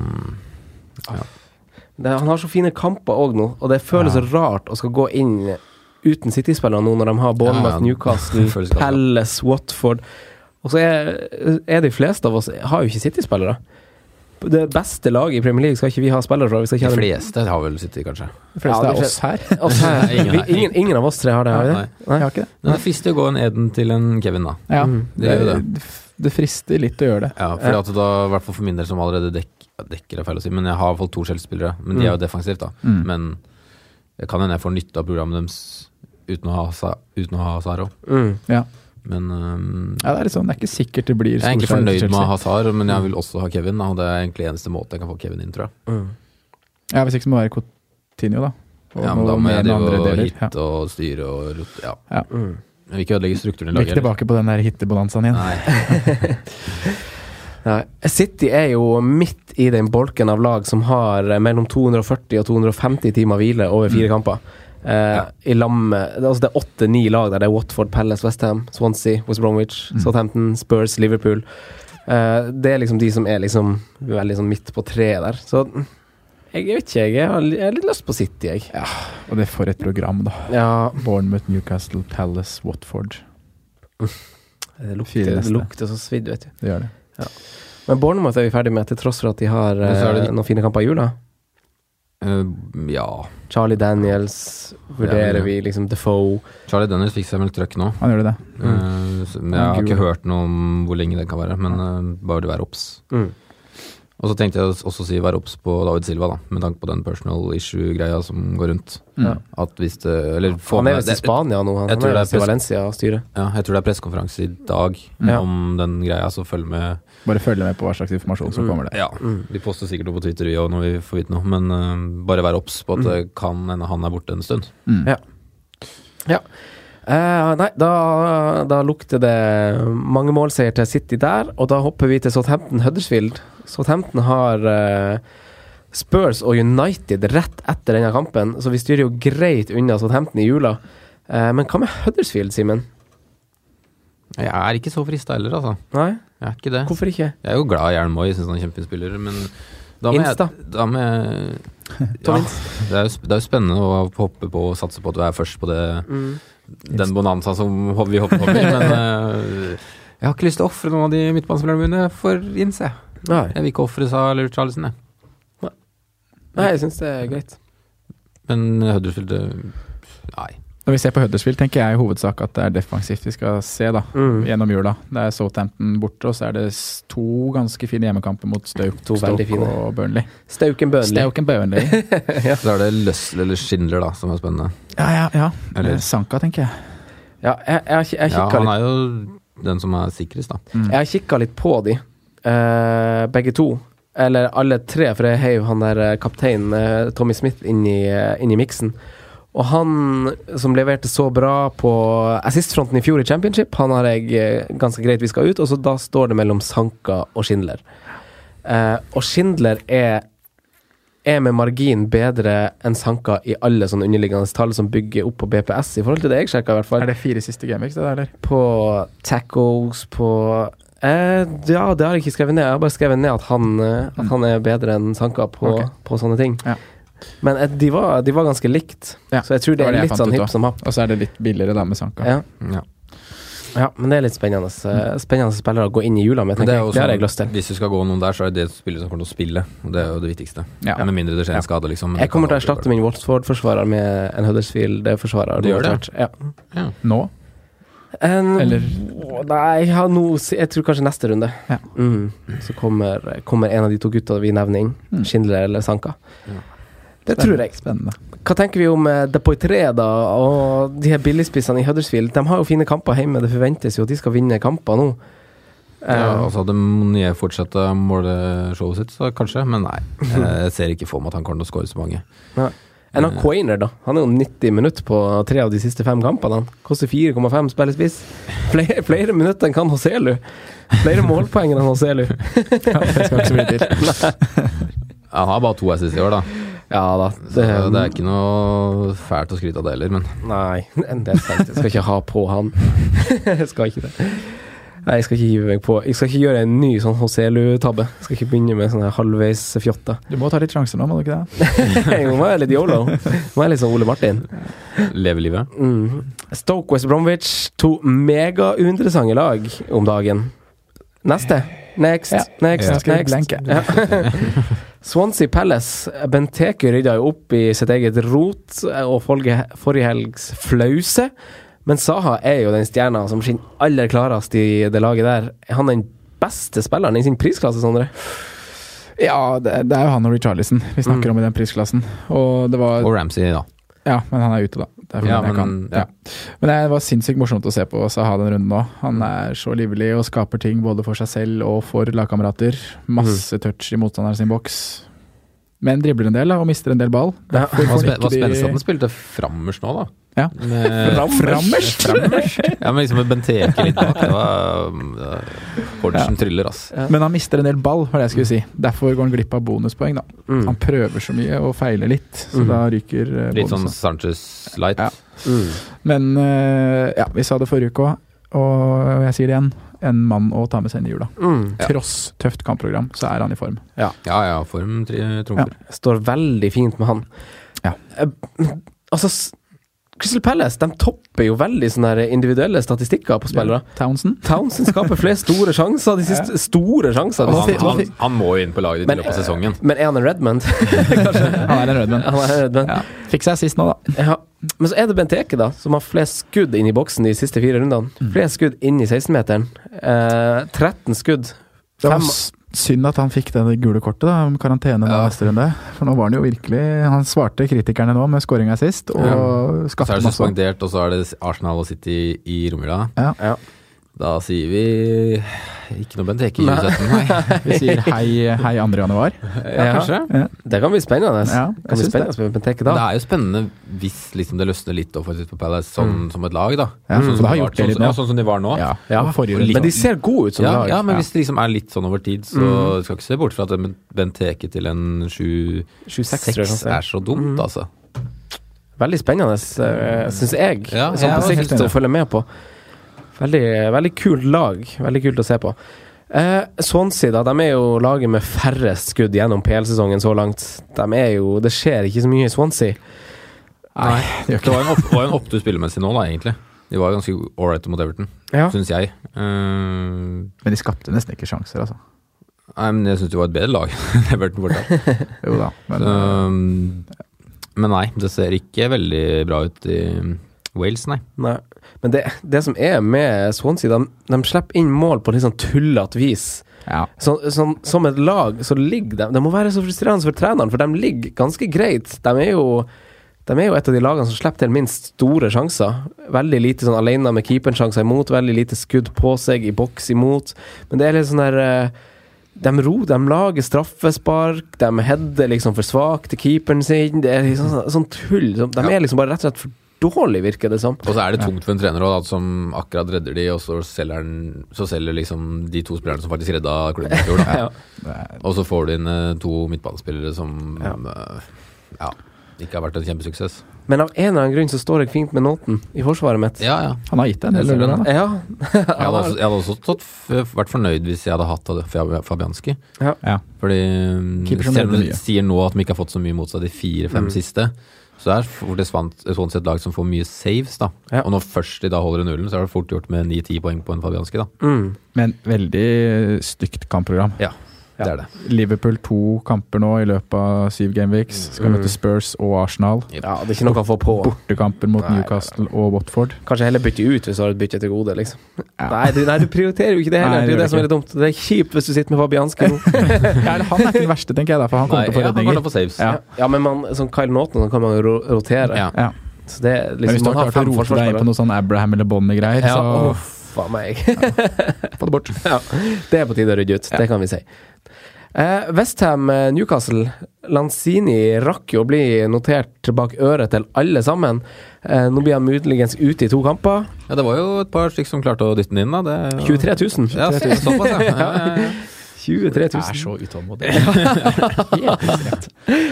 S3: Det, han har så fine kamper òg nå, og det føles så rart å skal gå inn uten City-spillere nå når de har Bournemouth,
S4: Ja, ja. Det
S3: Newcastle,
S4: føles galt, ja.
S3: Palace, Watford Og så er, er de fleste av oss har jo ikke City-spillere. Det beste laget i Premier League skal ikke vi ha spillere fra. Vi skal
S4: De
S3: ikke ha dem.
S4: fleste har vel sittet, kanskje.
S5: De fleste
S3: Ja, de
S5: er oss her.
S3: Altså,
S4: Nei, ingen
S3: vi,
S4: har-
S3: ingen, ingen av oss tre har det, har vi det?
S4: Nei.
S5: Jeg har ikke det.
S4: Men det er fristende å gå en Eden til en Kevin, da.
S5: Ja,
S4: Det gjør jo det.
S5: det, det frister litt å gjøre det.
S4: Ja, for at da, i hvert fall for min del som allerede dek, dekker er feil å si, men jeg har i hvert fall to skjellspillere. Men de er jo defensivt, da.
S5: Mm.
S4: Men det kan hende jeg får nytte av programmet deres uten å ha, Sa- uten å ha Saro.
S3: Mm.
S5: Ja.
S4: Men øhm,
S5: Ja, det er litt sånn, det er ikke sikkert det blir
S4: jeg er egentlig
S5: Solskjær til
S4: fornøyd med
S5: Chelsea. Mm.
S4: Hazar, men jeg vil også ha Kevin. da, Og det er egentlig eneste måte jeg kan få Kevin inn, tror jeg.
S3: mm,
S5: Ja, Hvis ikke så må det være Coutinho, da. Og
S4: Ja, men da
S5: noe
S4: må
S5: mer
S4: jeg
S5: med
S4: drive
S5: andre
S4: og
S5: deler. Ja.
S4: hit og styre og rote. Ja.
S5: Ja.
S3: mm.
S4: Jeg vil ikke ødelegge strukturen i
S5: Vi er ikke
S4: laget.
S5: tilbake på den der hittebonanzaen igjen.
S4: Nei,
S3: Nei. City er jo midt i den bolken av lag som har eh, mellom 240 og 250 timer hvile over fire kamper. Eh, I lam, det, er altså det er åtte-ni lag der. Det er Watford, Palace, Westham, Swansea, West Bromwich, Southampton, Spurs, Liverpool. Eh, det er liksom de som er liksom veldig sånn midt på treet der. Så jeg vet ikke, jeg. har li- Jeg har litt lyst på City, jeg. Ja.
S5: Og det er for et program, da. Bournemouth, Newcastle, Palace, Watford.
S3: det,
S5: Fire
S3: lukter,
S5: neste.
S3: det lukter så svidd, vet du.
S5: Det gjør det.
S3: Men Bournemouth er vi ferdig med, til tross for at de har
S4: Men så er
S3: eh,
S4: det-
S3: noen fine kamper i jula.
S4: Øhm, Eh, ja.
S3: Charlie Daniels
S4: Ja,
S3: vurderer
S4: men-
S3: vi, liksom Defoe
S4: Charlie Dennis fikk seg vel trøkk nå.
S5: Han gjør det. Mm.
S4: Eh, så- Men jeg har ikke hørt noe om hvor lenge det kan være, men eh, bare vær obs.
S3: Mm.
S4: Og så tenkte jeg også å si vær obs på David Silva, da, med tanke på den personal issue-greia som går rundt.
S5: Ja.
S4: At hvis det Eller få
S3: Mm. Han er
S4: med-
S3: visst i
S4: det-
S3: Spania nå, han,
S4: jeg
S3: han
S4: tror
S3: er
S4: det er
S3: visst i
S4: pres-
S3: Valencia og styrer.
S4: Ja, jeg tror det er pressekonferanse i dag
S3: Ja.
S4: om den greia, så følg med.
S5: Bare følg med på hva slags informasjon som kommer der.
S4: Ja, Vi poster sikkert noe på Twitter vi òg når vi får vite noe, men eh, bare vær obs
S3: Mm.
S4: på at det kan hende han er borte en stund.
S5: Mm.
S3: Eh, nei, da, da lukter det mange målseier til City der, og da hopper vi til Southampton Huddersfield. Southampton har eh, Spurs og United rett etter denne kampen, så vi styrer jo greit unna Southampton i jula. Eh, men hva med Huddersfield, Simen?
S4: Jeg er ikke så frista heller, altså.
S3: Nei,
S4: Jeg er ikke det.
S3: hvorfor ikke?
S4: Jeg er jo glad i Jern Moi, syns han er en kjempefin spiller, men da må
S3: Insta.
S4: jeg da må
S3: [laughs]
S4: jeg-
S3: Tom
S4: ja, det, er jo, sp- det er jo spennende å hoppe på og satse på at du er først på det,
S3: Mm.
S4: den bonanza som ho- vi hopper
S3: [laughs]
S4: over, men eh, jeg har ikke lyst til å ofre noen av de midtbanespillerne mine for Inns, jeg.
S3: Nei,
S4: Jeg vil ikke ofre Sa eller Charlesen, jeg.
S3: nei jeg syns det er greit.
S4: Men Huddersfield eh, Nei.
S5: Når vi ser på Huddersfield, tenker jeg i hovedsak at det er defensivt vi skal se da,
S3: Mm.
S5: gjennom jula. Det er Southampton borte, og så er det s- to ganske fine hjemmekamper mot Stoke,
S3: To veldig
S5: Stoke
S3: fine.
S5: og Burnley.
S3: Stauken Burnley.
S5: Stoke and [laughs] Burnley.
S4: Så er det Løssel eller Schindler da, som er spennende.
S5: Ja, ja, ja.
S4: Eller-
S5: Eh, Sanka, tenker jeg.
S3: Ja, jeg, jeg, har ki- jeg
S4: Ja,
S3: kikka
S4: han
S3: litt
S4: er jo den som er sikrest, da.
S5: Mm.
S3: Jeg har kikka litt på de, eh, begge to. Eller alle tre, for jeg heiv han der eh, kapteinen eh, Tommy Smith inn i, eh, inn i miksen. Og han som leverte så bra på assistfronten i fjor i championship, han har jeg eh, ganske greit viska ut, og så da står det mellom Sanka og Schindler. Eh, og Schindler er er med margin bedre enn Sanka i alle sånne underliggende tall som bygger opp på BPS, i forhold til det jeg sjekka, i hvert fall
S5: Er det fire siste gameweeks, det der, eller?
S3: på tacos, på eh, Ja, det har jeg ikke skrevet ned. Jeg har bare skrevet ned at han, eh, at han er bedre enn Sanka på,
S5: Ok.
S3: på sånne ting.
S5: Ja.
S3: Men eh, de var, de var ganske likt,
S5: Ja,
S3: så jeg tror
S5: det
S3: det
S5: var
S3: er
S5: det jeg
S3: litt
S5: fant
S3: sånn
S5: ut
S3: hipp
S5: også.
S3: som happ.
S5: Og så er det litt billigere da med Sanka.
S3: Ja.
S4: Ja.
S3: Ja, men det er litt spennende. eh, Spennende spillere å gå inn i jula med,
S4: Men
S3: tenker
S4: jo
S3: jeg. Det har
S4: sånn,
S3: jeg lyst til.
S4: Hvis du skal gå noen der, så er det det spillet som kommer til å spille. og Det er jo det viktigste.
S3: Ja.
S4: Med mindre det skjer
S3: Ja.
S4: en skade, liksom. men
S3: Jeg
S4: det kan
S3: kommer til å
S4: aldri
S3: erstatte min Watford-forsvarer med en Huddersfield-forsvarer.
S4: Du
S3: nå
S4: gjør det?
S3: etter hvert. Ja.
S4: Ja.
S5: Nå?
S3: En,
S5: Eller-
S3: Åh, Nei, ja, nå, si- jeg tror kanskje neste runde. Mm. Så kommer, kommer en av de to gutta vi nevner inn. Schindler eller Sanka. Mm. Det tror jeg.
S5: Spennende.
S3: Hva tenker vi om eh, De Poitre, da, og de her billigspissene i Huddersfield? De har jo fine kamper hjemme, det forventes jo at de skal vinne kamper nå.
S4: Ja,
S3: Eh,
S4: altså Hadde Monier fortsatt å måle showet sitt, så kanskje, men
S3: [laughs]
S4: nei. Eh, Jeg ser ikke for meg at han kommer til å skåre så mange.
S3: Nei. Enn han Quainer, da. Han er jo 90 minutter på tre av de siste fem kampene. Han koster 4,5 spillespiss. Flere, flere minutter enn kan Hoselu. Flere målpoeng enn han Hoselu.
S5: [laughs] det skal ikke så mye
S3: [laughs]
S5: til.
S4: Han har bare to SS i år, da.
S3: Ja da.
S4: Så det, er ikke noe fælt å skryte av det heller, men
S3: Nei, [laughs] det er sant. Jeg skal ikke ha på han. [laughs] Jeg skal ikke det. Nei, jeg skal ikke hive meg på. Jeg skal ikke gjøre en ny sånn Hoselu-tabbe. Jeg skal ikke begynne med sånne halvveis fjotter.
S5: Du må ta litt sjanser nå, må du ikke det?
S3: [laughs] Jeg må være litt yolo. Jeg Må være litt sånn Ole Martin.
S4: leve livet.
S3: Mm. Stoke West Bromwich. To megauinteressante lag om dagen. Neste. Next.
S5: Ja.
S3: Next.
S5: Jeg skal
S3: Next.
S5: blenke.
S3: Ja. [laughs] Swansea Palace. Benteke rydda jo opp i sitt eget rot og folge- forrige helgs flause. Men Saha er jo den stjerna som skinner aller klarest i det laget der. Er Han er den beste spilleren i sin prisklasse, Sondre.
S5: Ja, det, det er jo han og Richarlison vi snakker om i den prisklassen. Og det var
S4: Og Ramsey, da.
S5: Ja, men han er ute, da. Det er fordi
S4: Ja,
S5: jeg kan.
S4: men-
S5: Ja. men det var sinnssykt morsomt å se på Saha den runden nå. Han er så livlig og skaper ting både for seg selv og for lagkamerater.
S4: Mhm.
S5: Masse touch i motstanderen sin boks. Men dribler en del da, og mister en del ball.
S3: Ja.
S5: Derfor
S4: Hva
S5: får
S4: spen-
S5: ikke
S4: hva spennende at
S5: de-
S4: han spilte frammers nå, da.
S5: Ja.
S4: Med,
S5: Frammers!
S4: ja, men liksom med Benteke litt bak. Det var um, Hordsen tryller, ass.
S5: [laughs] Men han mister en del ball, var det jeg
S4: Mm.
S5: skulle si. Derfor går han glipp av bonuspoeng, da.
S3: Mm.
S5: Han prøver så mye og feiler litt, så da ryker eh,
S4: Mm. Litt
S5: bonusen.
S4: sånn Sanchez light.
S5: Ja.
S3: Mm.
S5: Men eh, ja, vi sa det forrige uke òg, og jeg sier det igjen. En mann å ta med seg inn i jula.
S3: Mm.
S5: Tross tøft kampprogram, så er han i form.
S4: Ja ja, form tri- trumfer.
S3: står veldig fint med han.
S5: Ja.
S3: Eh, altså, s- Crystal Palace de topper jo veldig sånne her individuelle statistikker på spillere.
S5: Townsend?
S3: Townsend skaper flere store sjanser. De
S5: [laughs]
S3: siste store sjanser.
S4: Han,
S3: de siste-
S4: han, han må jo inn på laget ditt
S3: Men-
S4: i løpet av sesongen.
S3: Men er han en Redmond? [laughs]
S5: Han er en rødvenn.
S3: Han er en Redmond.
S5: Ja. Fikk seg sist nå, da.
S3: Ja. Men så er det Benteke, da, som har flest skudd inn i boksen de siste fire rundene.
S5: Mm.
S3: Flere skudd inn i 16-meteren. Eh, 13 skudd.
S5: Det var
S3: Fem-
S5: s- synd at han fikk det gule kortet da, om karantene nå
S4: Ja.
S5: neste runde. For nå var han jo virkelig Han svarte kritikerne nå med skåringa sist, og
S4: Så
S5: skapte
S4: er det
S5: masse.
S4: suspendert, og så er det Arsenal og City i romjula.
S5: Ja.
S3: Ja.
S4: Da sier vi ikke noe Benteke i
S5: [laughs]
S4: 2017, nei.
S5: Vi sier hei, hei 2. januar.
S3: Ja, Det kan bli spennende.
S5: Ja,
S3: det
S5: jeg
S3: kan bli
S5: syns det.
S3: spennende med Benteke
S4: Men Det
S3: da.
S4: er jo spennende hvis liksom det løsner litt offensivt på Palace, sånn som et lag, da.
S5: Ja, sånn som Mm. det har
S4: de var-
S5: gjort det litt
S4: sånn-
S5: nå.
S4: Ja, sånn som de var nå.
S5: Ja.
S3: Ja, sånn.
S5: Og forrige runde.
S3: men de ser gode ut som
S4: Ja,
S3: lag.
S4: ja, men
S5: Ja. Mm.
S4: hvis det liksom er litt sånn over tid, så du skal ikke se bort fra at en Benteke til en
S3: 26 tror jeg sånn. han
S5: sånn,
S4: 7-6
S3: ser.
S4: er så
S5: Mm.
S4: dumt, altså.
S3: Veldig spennende, syns jeg,
S4: Ja,
S3: som
S4: jeg
S3: på
S4: er
S5: helt
S3: sikt å
S5: enig.
S3: følge med på. Veldig, eh, veldig kult lag. Veldig kult å se på. Eh, Swansea, da. De er jo laget med færrest skudd gjennom PL-sesongen så langt. De er jo, det skjer ikke så mye i Swansea.
S4: Nei,
S5: det gjør
S4: det var en, opp, var en opptur spillemessig nå, da, egentlig. De var jo ganske ålreite mot Everton,
S3: Ja.
S4: syns jeg. Eh,
S5: Men de skapte nesten ikke sjanser, altså.
S4: Nei, men jeg syns det var et bedre lag [laughs] enn Everton borte.
S5: Jo da. Men,
S4: Um, men nei, det ser ikke veldig bra ut i Wales, nei.
S3: Nei. Men det, det som er med Swansea, de, de slipper inn mål på litt sånn tullete vis.
S5: ja.
S3: Så, som- som et lag så ligger de Det må være så frustrerende for treneren, for de ligger ganske greit. De er jo, de er jo et av de lagene som slipper til minst store sjanser. Veldig lite sånn alene med keepersjanser imot, veldig lite skudd på seg i boks imot. Men det er litt sånn der eh, De ro, de lager straffespark, de header liksom for svakt til keeperen sin. Det er liksom sånn, sånn tull. sånn- De er liksom bare rett og slett for dårlig, virker det som.
S4: Og så er det tungt for en trener også, da, som akkurat redder de, og så selger, han, så selger liksom de to spillerne som faktisk redda klubben i fjor. Da.
S3: Ja.
S4: Og så får du inn eh, to midtbanespillere som
S3: Ja.
S4: eh, ja, ikke har vært en kjempesuksess.
S3: Men av en eller annen grunn så står jeg fint med Nåten i forsvaret mitt.
S4: Ja, ja.
S5: Han har gitt deg en del
S4: Jeg ser
S5: luller,
S4: den.
S5: da.
S3: Ja.
S4: Jeg hadde også, jeg hadde også stått, f- vært fornøyd hvis jeg hadde hatt av det Fab- Fabianski.
S5: Ja.
S4: Fordi mm,
S5: Keeper som
S4: selv om
S5: redder
S4: de
S5: mye. Mm.
S4: sier nå at de ikke har fått så mye mot seg de fire-fem siste, Så det er fort et svant- sånn sett lag som får mye saves, da. Og når først de da holder i nullen, så er det fort gjort med 9-10 poeng på en fabianski, da.
S3: Mm.
S5: Men veldig stygt kampprogram.
S4: Ja, det er det.
S5: Liverpool to kamper nå i løpet av syv gameweeks. Skal
S3: Mm.
S5: møte Spurs og Arsenal.
S3: Ja, det er ikke noe å få på.
S5: Bortekamper mot
S3: Nei,
S5: Newcastle og Watford.
S3: Kanskje heller bytte ut hvis du har et bytte til gode, liksom. Nei, du, nei, du prioriterer jo ikke det heller.
S5: Nei,
S3: det er jo det
S5: det
S3: som er
S5: gjør
S3: litt dumt. Det er kjipt hvis du sitter med Fabianski
S5: [laughs]
S3: nå.
S5: Ja, eller han er ikke den verste, tenker jeg, da, for han kommer
S3: Nei,
S5: til å få
S3: ja, han kommer
S5: redninger.
S3: til å få saves. Ja. men man, som Kyle Naughton da kan man jo ro- rotere.
S5: Ja.
S3: Så det er
S5: Men
S3: liksom,
S5: hvis du
S3: man
S5: har
S3: har
S5: klart å
S3: fem
S5: rote deg inn på
S3: forsvarsspillere.
S5: noe sånn Abraham eller Bonnie-greier,
S3: Ja,
S5: så
S3: åh, faen meg. Få det bort. [laughs] Ja, det er på tide å rydde ut. Det kan vi si. Eh, Westham eh, Newcastle. Lanzini rakk jo å bli notert bak øret til alle sammen. Eh, nå blir han muligens ute i to kamper.
S4: Ja, det var jo et par stykker som klarte å dytte den inn, da. Det er jo-
S3: 23 000.
S4: Ja, så- såpass,
S5: [laughs]
S4: ja. ja, ja, ja.
S3: 23 000.
S5: er så utålmodig.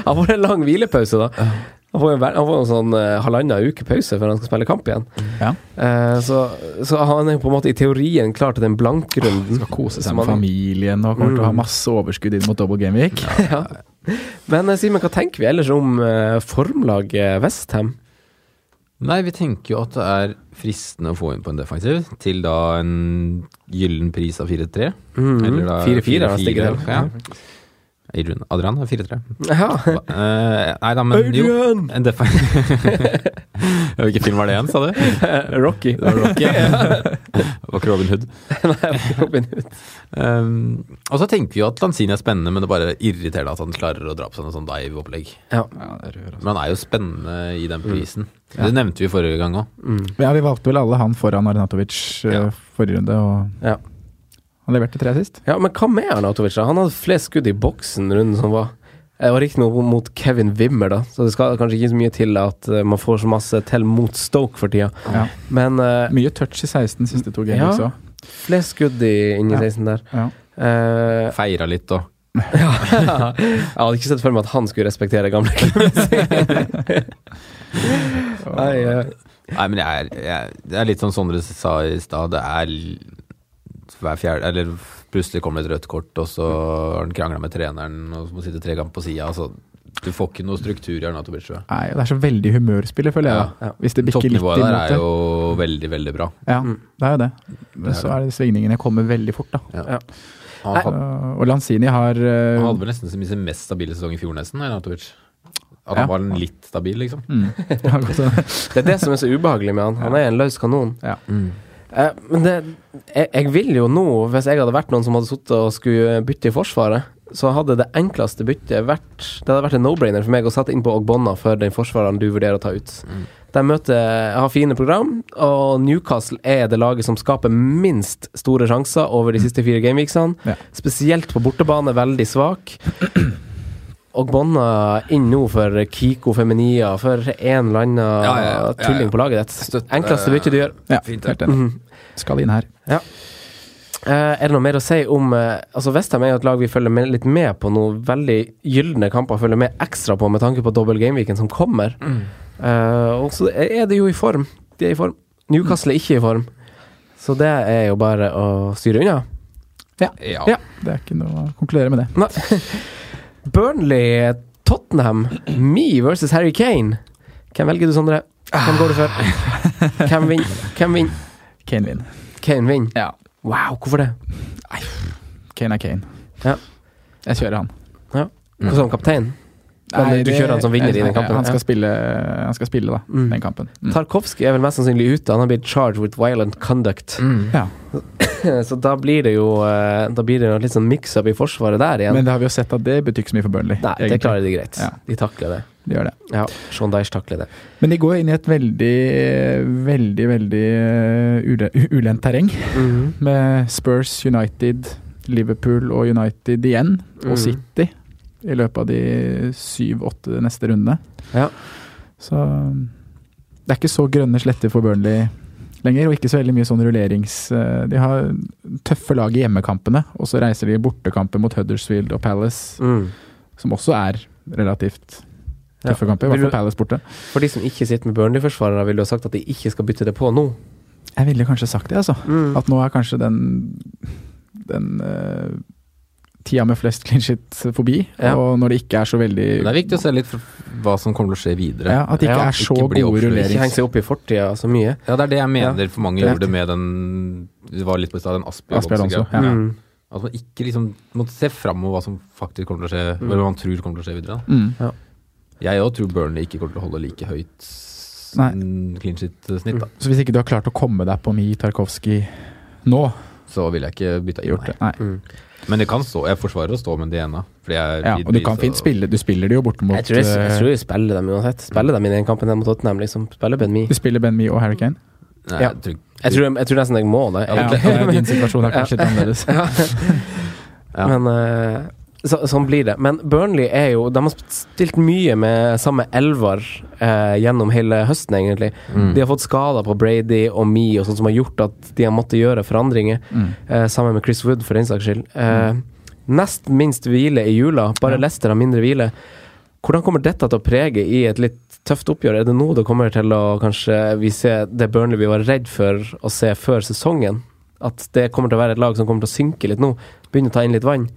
S3: Han får en lang hvilepause, da. Han får jo en, ver- han får en sånn eh, halvannen uke pause før han skal spille kamp igjen.
S5: Ja.
S3: Eh, så, så han er jo på en måte i teorien klar til den blankrunden.
S5: Skal kose
S3: som
S5: seg med
S3: han-
S5: familien og kommer til å ha masse overskudd inn mot double game week.
S3: Ja. Men eh, Simen, hva tenker vi ellers om eh, formlaget Westham?
S4: Nei, vi tenker jo at det er fristende å få inn på en defensiv til da en gyllen pris av 4-3.
S3: Mhm.
S4: Eller da
S3: 4-4 har han stikket til.
S4: Ja. Adrian Adrian er [laughs] 4-3.
S3: Ja. [laughs]
S4: Eh, nei da, men jo En defa- [laughs] Hvilken film var det igjen, sa du? Det
S5: [laughs]
S3: Rocky.
S4: var Rocky. [laughs] ja. Det var ikke Robin Hood.
S3: Robin Hood.
S4: Um, og så tenker vi jo at Lanzini er spennende, men det er bare irriterende at han klarer å dra på sånne sånn dive-opplegg.
S3: Ja.
S5: Ja, det rører oss.
S4: Men han er jo spennende i den prisen. Det nevnte vi forrige gang òg.
S5: ja, vi valgte vel alle han foran Arnatovic eh,
S4: Ja.
S5: forrige runde, og
S3: Ja.
S5: han leverte tre sist.
S3: ja, men hva med Arnatovic? da? Han hadde flest skudd i boksen runden som var. Eh, Og riktignok mot Kevin Wimmer, da, så det skal kanskje ikke så mye til at eh, man får så masse til mot Stoke for tida.
S5: Ja.
S3: Men eh,
S5: Mye touch i 16 siste to
S3: Ja.
S5: games òg.
S3: flest skudd i inni
S5: Ja.
S3: 16 der.
S5: Ja.
S3: Eh,
S4: Feira litt og
S3: ja. Jeg hadde ikke sett for meg at han skulle respektere gamle klubben sin. Nei, eh,
S4: Nei, men jeg er, jeg, det er litt som Sondre sa i stad. Det er l- hver fjerde Eller plutselig kommer det et rødt kort, og så har han krangla med treneren og så må han sitte tre ganger på sida. Altså, du får ikke noe struktur i Arnatovic. tror jeg.
S5: Nei, og det er så veldig humørspillet, føler jeg.
S3: Ja,
S5: da.
S3: ja.
S5: Hvis det bikker litt imot
S4: Toppnivået der er
S5: det.
S4: jo veldig, veldig bra.
S5: Ja,
S3: Mm.
S5: det er jo det. Men
S4: er
S5: så er det svingningene kommer veldig fort, da.
S4: Han
S5: Og,
S4: hadde,
S5: og Lanzini har eh,
S4: han hadde vel nesten sin mest stabile sesong i fjor, nesten. Arnatovic. At
S5: Ja.
S4: han var litt stabil, liksom.
S5: mm, [laughs] har gått en-
S3: det er det som er så ubehagelig med han. Han er en løs kanon.
S5: Ja.
S3: Eh, men det, jeg, jeg vil jo nå, hvis jeg hadde vært noen som hadde sittet og skulle bytte i Forsvaret, så hadde det enkleste byttet vært Det hadde vært en no-brainer for meg å sette innpå Ogbonna for den forsvareren du vurderer å ta ut.
S4: Mm.
S3: De møter, har fine program, og Newcastle er det laget som skaper minst store sjanser over de siste fire gameweeksene.
S5: Ja.
S3: Spesielt på bortebane, veldig svak. Ogbonna inn nå for Kiko Feminia, for en eller annen
S4: Ja, ja, eh, ja, ja, ja.
S3: tulling på laget ditt.
S4: Støtte-
S3: Enkleste bytte du gjør.
S5: ja,
S4: Fint,
S5: helt enig.
S3: Mhm.
S5: Skal inn her.
S3: Eh, er det noe mer å si om eh, Altså Vestheim er jo et lag vi følger med, litt med på nå. Veldig gylne kamper følger med ekstra på med tanke på dobbel gameweeken som kommer.
S5: Mm.
S3: Eh, og så er det jo i form. De er i form. Newcastle er ikke i form. Så det er jo bare å styre unna.
S4: Ja.
S3: Ja.
S5: Det er ikke noe å konkludere med det.
S3: Nei. [laughs] Burnley, Tottenham, Me versus Harry Kane. Hvem velger du, Sondre? Hvem går du for?
S5: Ah.
S3: Hvem vinner? Hvem vinner?
S5: Kane vinner.
S3: Kane vinner.
S5: Ja.
S3: Wow, hvorfor det?
S5: Kane er Kane.
S3: Ja.
S5: Jeg kjører han.
S3: Hvorfor Som kaptein? Men du
S5: det-
S3: kjører han som vinner i den
S5: Mm. Nei,
S3: kampen,
S5: Han
S3: ja.
S5: skal spille, han skal spille da,
S3: Mm.
S5: den kampen. Mm.
S3: Tarkovskij er vel mest sannsynlig ute. Han har blitt charged with violent conduct. [laughs]
S5: Ja.
S3: Så da blir det jo eh, Da blir det jo litt sånn mix-up i forsvaret der igjen.
S5: Men det har vi jo sett at det betyr ikke så mye for Burnley.
S3: Nei, det
S5: egentlig.
S3: klarer de greit.
S5: Ja.
S3: De takler det.
S5: De gjør det.
S3: Ja, Sean Dyche takler det.
S5: Men de går inn i et veldig, veldig, veldig eh, ule, [laughs] ulendt terreng. Mhm. Med Spurs, United, Liverpool og United igjen,
S3: Mhm.
S5: og City i løpet av de syv-åtte neste rundene.
S3: Ja.
S5: Så det er ikke så grønne sletter for Burnley lenger, og ikke så veldig mye sånn rullerings... eh, De har tøffe lag i hjemmekampene, og så reiser de i bortekamper mot Huddersfield og Palace,
S3: Mm.
S5: som også er relativt
S3: Ja.
S5: tøffe kamper, i
S3: Vil du-
S5: hvert fall Palace borte.
S3: For de som ikke sitter med Burnley-forsvarere, vil du ha sagt at de ikke skal bytte det på nå?
S5: Jeg Mm.
S3: Mm.
S5: ville kanskje sagt det, altså. At nå er kanskje den den eh, tida med flest clean shit forbi,
S4: Ja.
S5: og når det ikke er så veldig
S4: Det er viktig å se litt for hva som kommer til å skje videre.
S5: Ja, at det ikke er så
S4: bli
S5: gode
S4: oppslørt.
S5: rulleringer. Ikke henge seg
S3: opp i fortida så mye.
S4: Ja, det er det jeg mener
S5: Ja.
S4: for mange
S5: Det er
S4: gjorde med den Det var litt på i stad, den Asbjørn
S5: Asbjørn
S4: Alonso.
S5: Alonso, ja. Mm.
S4: At man ikke liksom må se fram over hva som faktisk kommer til å skje,
S5: Mm.
S4: eller hva man tror kommer til å skje videre. Da.
S5: Mm. Ja.
S4: Jeg òg tror Burnley ikke kommer til å holde like høyt s-
S5: Nei. Mm.
S4: clean shit-snitt, da.
S5: Så hvis ikke du har klart å komme deg på Mi Tarkovskij nå
S4: Så vil jeg ikke bytte inn.
S5: Nei.
S3: Mm.
S4: Men det kan stå. Jeg forsvarer å stå med det ene. Fordi jeg
S5: ja, Og du kan fint spille, du spiller det jo bortimot
S3: Jeg tror jeg, jeg
S5: eh,
S3: tror jeg spiller dem uansett. Spiller dem i den kampen her mot Tottenham, liksom. Spiller Ben Mi.
S5: Du spiller Ben Mi og Harry Kane?
S4: Nei,
S3: ja.
S4: jeg
S3: jeg,
S4: tror-
S3: tror, jeg tror nesten jeg må det.
S5: Ja, ok. Ja,
S3: [laughs]
S5: din situasjon er kanskje litt annerledes.
S3: Ja. Men eh, så, sånn blir det. Men Burnley er jo De har spilt mye med samme elver eh, gjennom hele høsten, egentlig.
S6: Mm.
S3: De har fått skader på Brady og Me og sånt som har gjort at de har måttet gjøre forandringer. eh, sammen med Chris Wood, for den saks skyld. Eh, Nest minst hvile i jula. Bare Leicester har mindre hvile. Hvordan kommer dette til å prege i et litt tøft oppgjør? Er det nå det kommer til å kanskje vi ser det Burnley vi var redd for å se før sesongen? At det kommer til å være et lag som kommer til å synke litt nå? Begynne å ta inn litt vann?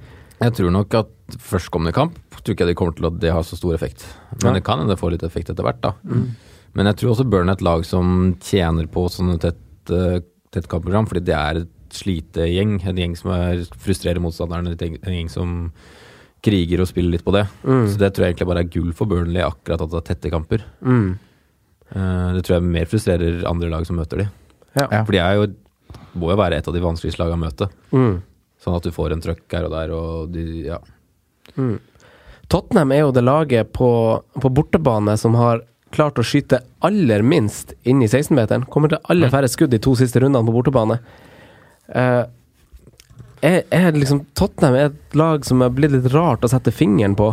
S4: Jeg tror nok at førstkommende kamp tror ikke jeg det kommer til at det har så stor effekt. Men
S3: Nei.
S4: det kan hende det får litt effekt etter hvert, da.
S3: Mm.
S4: Men jeg tror også Burn er et lag som tjener på sånne tett, eh, tett kampprogram, fordi det er et slitegjeng. En gjeng som er, frustrerer motstanderen, et gjeng- en gjeng som kriger og spiller litt på det.
S3: Mm.
S4: Så det tror jeg egentlig bare er gull for Burnley, akkurat at det er tette kamper.
S3: Mm.
S4: Eh, Det tror jeg mer frustrerer andre lag som møter de.
S3: Ja.
S4: For de er jo, må jo være et av de vanskeligste lagene å møte.
S3: Mm.
S4: Sånn at du får en trøkk her og der, og de, ja.
S3: Mm. Tottenham er jo det laget på, på bortebane som har klart å skyte aller minst inn i 16-meteren. Kommer til
S4: Mm.
S3: aller færre skudd de to siste rundene på bortebane. Eh, er, er liksom Tottenham er et lag som er blitt litt rart å sette fingeren på.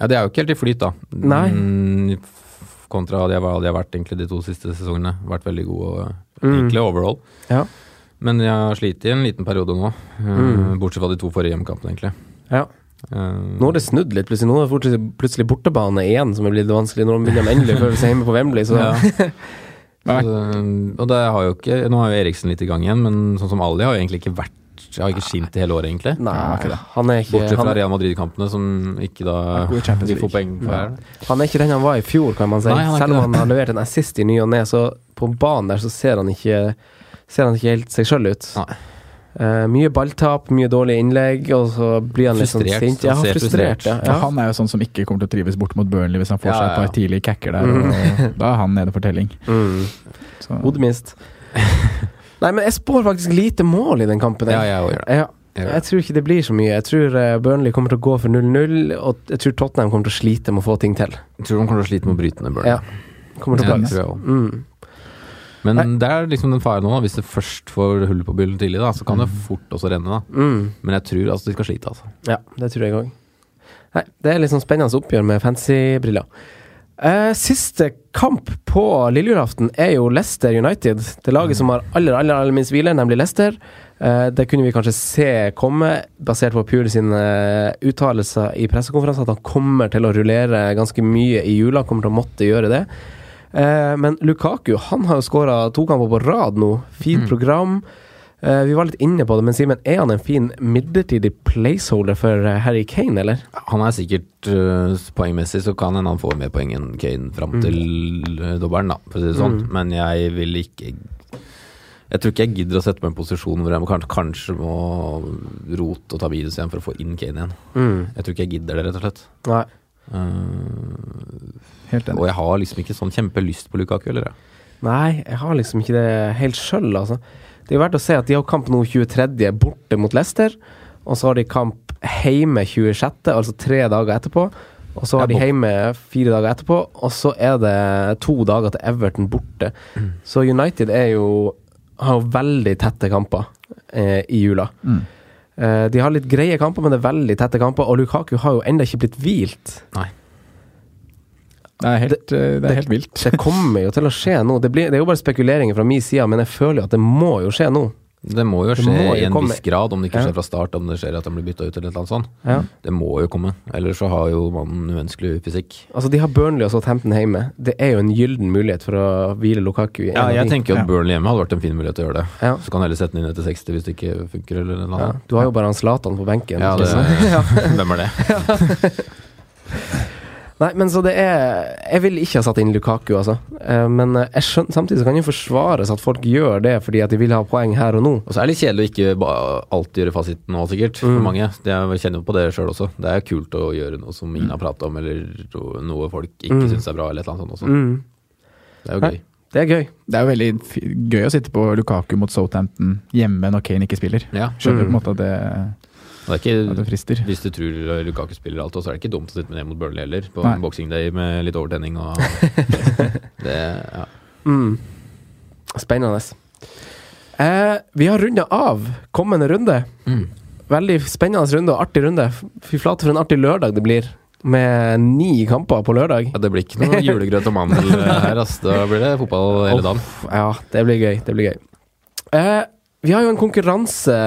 S4: Ja, det er jo ikke helt i flyt, da.
S3: Nei.
S4: Mm, f- Kontra det jeg var- det jeg har vært egentlig de to siste sesongene. Vært veldig god og eh,
S3: Mm.
S4: egentlig overall.
S3: Ja.
S4: Men jeg har slitt i en liten periode nå. eh,
S3: Mm.
S4: Bortsett fra de to forrige hjemmekampene, egentlig. Eh,
S3: Ja. Nå har det snudd litt, plutselig. Nå er det fortsatt- plutselig bortebane igjen som er blitt vanskelig. Når de begynner endelig å føle seg hjemme på Wembley, så
S4: Ja. Så, og det har jo ikke Nå er jo Eriksen litt i gang igjen, men sånn som Ali har jo egentlig ikke vært har ikke skint i hele året, egentlig.
S3: [laughs] Nei, han er ikke-
S4: Bortsett fra
S3: han-
S4: Real Madrid-kampene, som ikke da
S3: Er god i Champions
S4: de får
S3: League.
S4: poeng for.
S3: Ja. Han er ikke den han var i fjor, kan man si.
S4: Nei, han er
S3: Selv om
S4: ikke
S3: han
S4: det.
S3: har levert en assist i ny og ne, så på banen der så ser han ikke, ser han ikke helt seg sjøl ut. Eh, mye balltap, mye dårlige innlegg, og så blir han litt sånn
S5: Frustrert,
S3: sint.
S5: han
S3: Ja,
S5: ser
S3: frustrert. [laughs]
S5: frustrert.
S3: Ja,
S5: For
S3: ja.
S5: Han er jo sånn som ikke kommer til å trives bort mot Burnley hvis han får
S3: Ja,
S5: seg et
S3: ja.
S5: par tidlige cacker
S3: [laughs]
S5: der. Og da er han nede for telling.
S3: Mm.
S5: Så-
S3: Hodemist. Nei, men jeg spår faktisk lite mål i den kampen. jeg.
S4: Ja, jeg også gjør det.
S3: Ja.
S4: Jeg gjør
S3: Jeg tror ikke det blir så mye. Jeg tror eh, Burnley kommer til å gå for 0-0, og jeg tror Tottenham kommer til å slite med å få ting til.
S4: Jeg tror de kommer til å slite med å bryte ned Burnley.
S3: Ja. Kommer til å
S4: Ja, det
S3: plages.
S4: tror jeg også.
S3: Mm.
S4: Men det er liksom den faren nå, da. hvis det først får hull på byllen tidlig, da, så kan det fort også renne. da.
S3: Mm.
S4: Men jeg tror altså de skal slite, altså.
S3: Ja, det tror jeg òg. Nei, det er litt sånn spennende oppgjør med fancy briller. Eh, siste kamp på lille julaften er jo Leicester United. Det laget som har aller, aller, aller minst hvile, nemlig Leicester. Eh, det kunne vi kanskje se komme, basert på Pure sine uttalelser i pressekonferansen, at han kommer til å rullere ganske mye i jula, kommer til å måtte gjøre det. Eh, men Lukaku han har jo skåra to kamper på rad nå. Fint program. Eh, vi var litt inne på det, men Simen, er han en fin midlertidig placeholder for eh, Harry Kane, eller?
S4: Han er sikkert øh, poengmessig så kan hende han får mer poeng enn Kane fram
S3: Mm.
S4: til øh, dobbelen, da, for å si det sånn.
S3: Mm.
S4: Men jeg vil ikke Jeg tror ikke jeg gidder å sette meg i en posisjon hvor jeg må, kanskje, kanskje må rote og ta minus igjen for å få inn Kane igjen.
S3: Mm.
S4: Jeg tror ikke jeg gidder det, rett og slett.
S3: Nei.
S4: Eh,
S5: Helt enig.
S4: Og jeg har liksom ikke sånn kjempelyst på Lukaku, eller? jeg.
S3: Nei, jeg har liksom ikke det helt sjøl, altså. Det er jo verdt å se at de har kamp nå 23. borte mot Leicester, og så har de kamp hjemme 26., altså tre dager etterpå. Og så har de
S4: Det er
S3: hjemme fire dager etterpå, og så er det to dager til Everton borte. Så United er jo har jo veldig tette kamper eh, i jula.
S5: Mm.
S3: Eh, de har litt greie kamper, men det er veldig tette kamper, og Lukaku har jo ennå ikke blitt hvilt.
S4: Nei.
S5: Det er helt, eh, det er helt vilt.
S3: Det kommer jo til å skje nå. Det, blir, det er jo bare spekuleringer fra min side, men jeg føler jo at det må jo skje nå.
S4: Det må jo
S3: Det
S4: skje
S3: må jo
S4: i en
S3: komme.
S4: viss grad, om det ikke
S3: Ja.
S4: skjer fra start, om det skjer at han blir bytta ut eller et eller annet sånt.
S3: Ja.
S4: Det må jo komme, ellers så har jo mannen uønskelig fysikk.
S3: Altså, de har Burnley og Southampton hjemme. Det er jo en gyllen mulighet for å hvile Lukaku. i en
S4: Ja,
S3: av
S4: jeg
S3: de.
S4: tenker jo
S3: Ja.
S4: at Burnley hjemme hadde vært en fin mulighet til å gjøre det.
S3: Ja.
S4: Så kan du heller sette den inn etter 60 hvis det ikke funker, eller noe
S3: Ja,
S4: annet.
S3: Du har jo bare han Zlatan på benken.
S4: [laughs] Ja, det,
S3: liksom. Ja.
S4: Hvem er det?
S3: [laughs] Nei, men så det er Jeg ville ikke ha satt inn Lukaku, altså. Eh, Men eh, jeg skjønner, samtidig så kan det jo forsvares at folk gjør det fordi at de vil ha poeng her og nå.
S4: Og så er det litt kjedelig å ikke ba- alltid gjøre fasiten nå, sikkert. For
S3: Mm.
S4: mange. Det er, jeg kjenner jo på det sjøl også. Det er kult å gjøre noe som ingen har prata om, eller no- noe folk ikke
S3: Mm.
S4: syns er bra, eller et eller annet sånt også.
S3: Mm.
S4: Det er jo gøy.
S3: Det er gøy.
S5: Det er jo veldig f gøy å sitte på Lukaku mot Southampton hjemme når Kane ikke spiller.
S4: Ja.
S5: Skjønner du på
S4: Mm.
S5: en måte at det
S4: Og Det er
S5: Ja,
S4: ikke,
S5: det frister.
S4: Hvis du tror Lukaku spiller alt, så er det ikke dumt å sitte med det mot Burnley heller, på
S5: Nei.
S4: en boxing day med litt overtenning og det, ja.
S3: Mm. Spennende. Eh, vi har runda av kommende runde.
S4: Mm.
S3: Veldig spennende runde og artig runde. Fy flate for en artig lørdag det blir, med ni kamper på lørdag.
S4: ja, Det blir ikke noe julegrøt og mandel eh, her, ass. Da blir det fotball hele dagen.
S3: Uff, ja, det blir gøy. Det blir gøy. Eh, vi har jo en konkurranse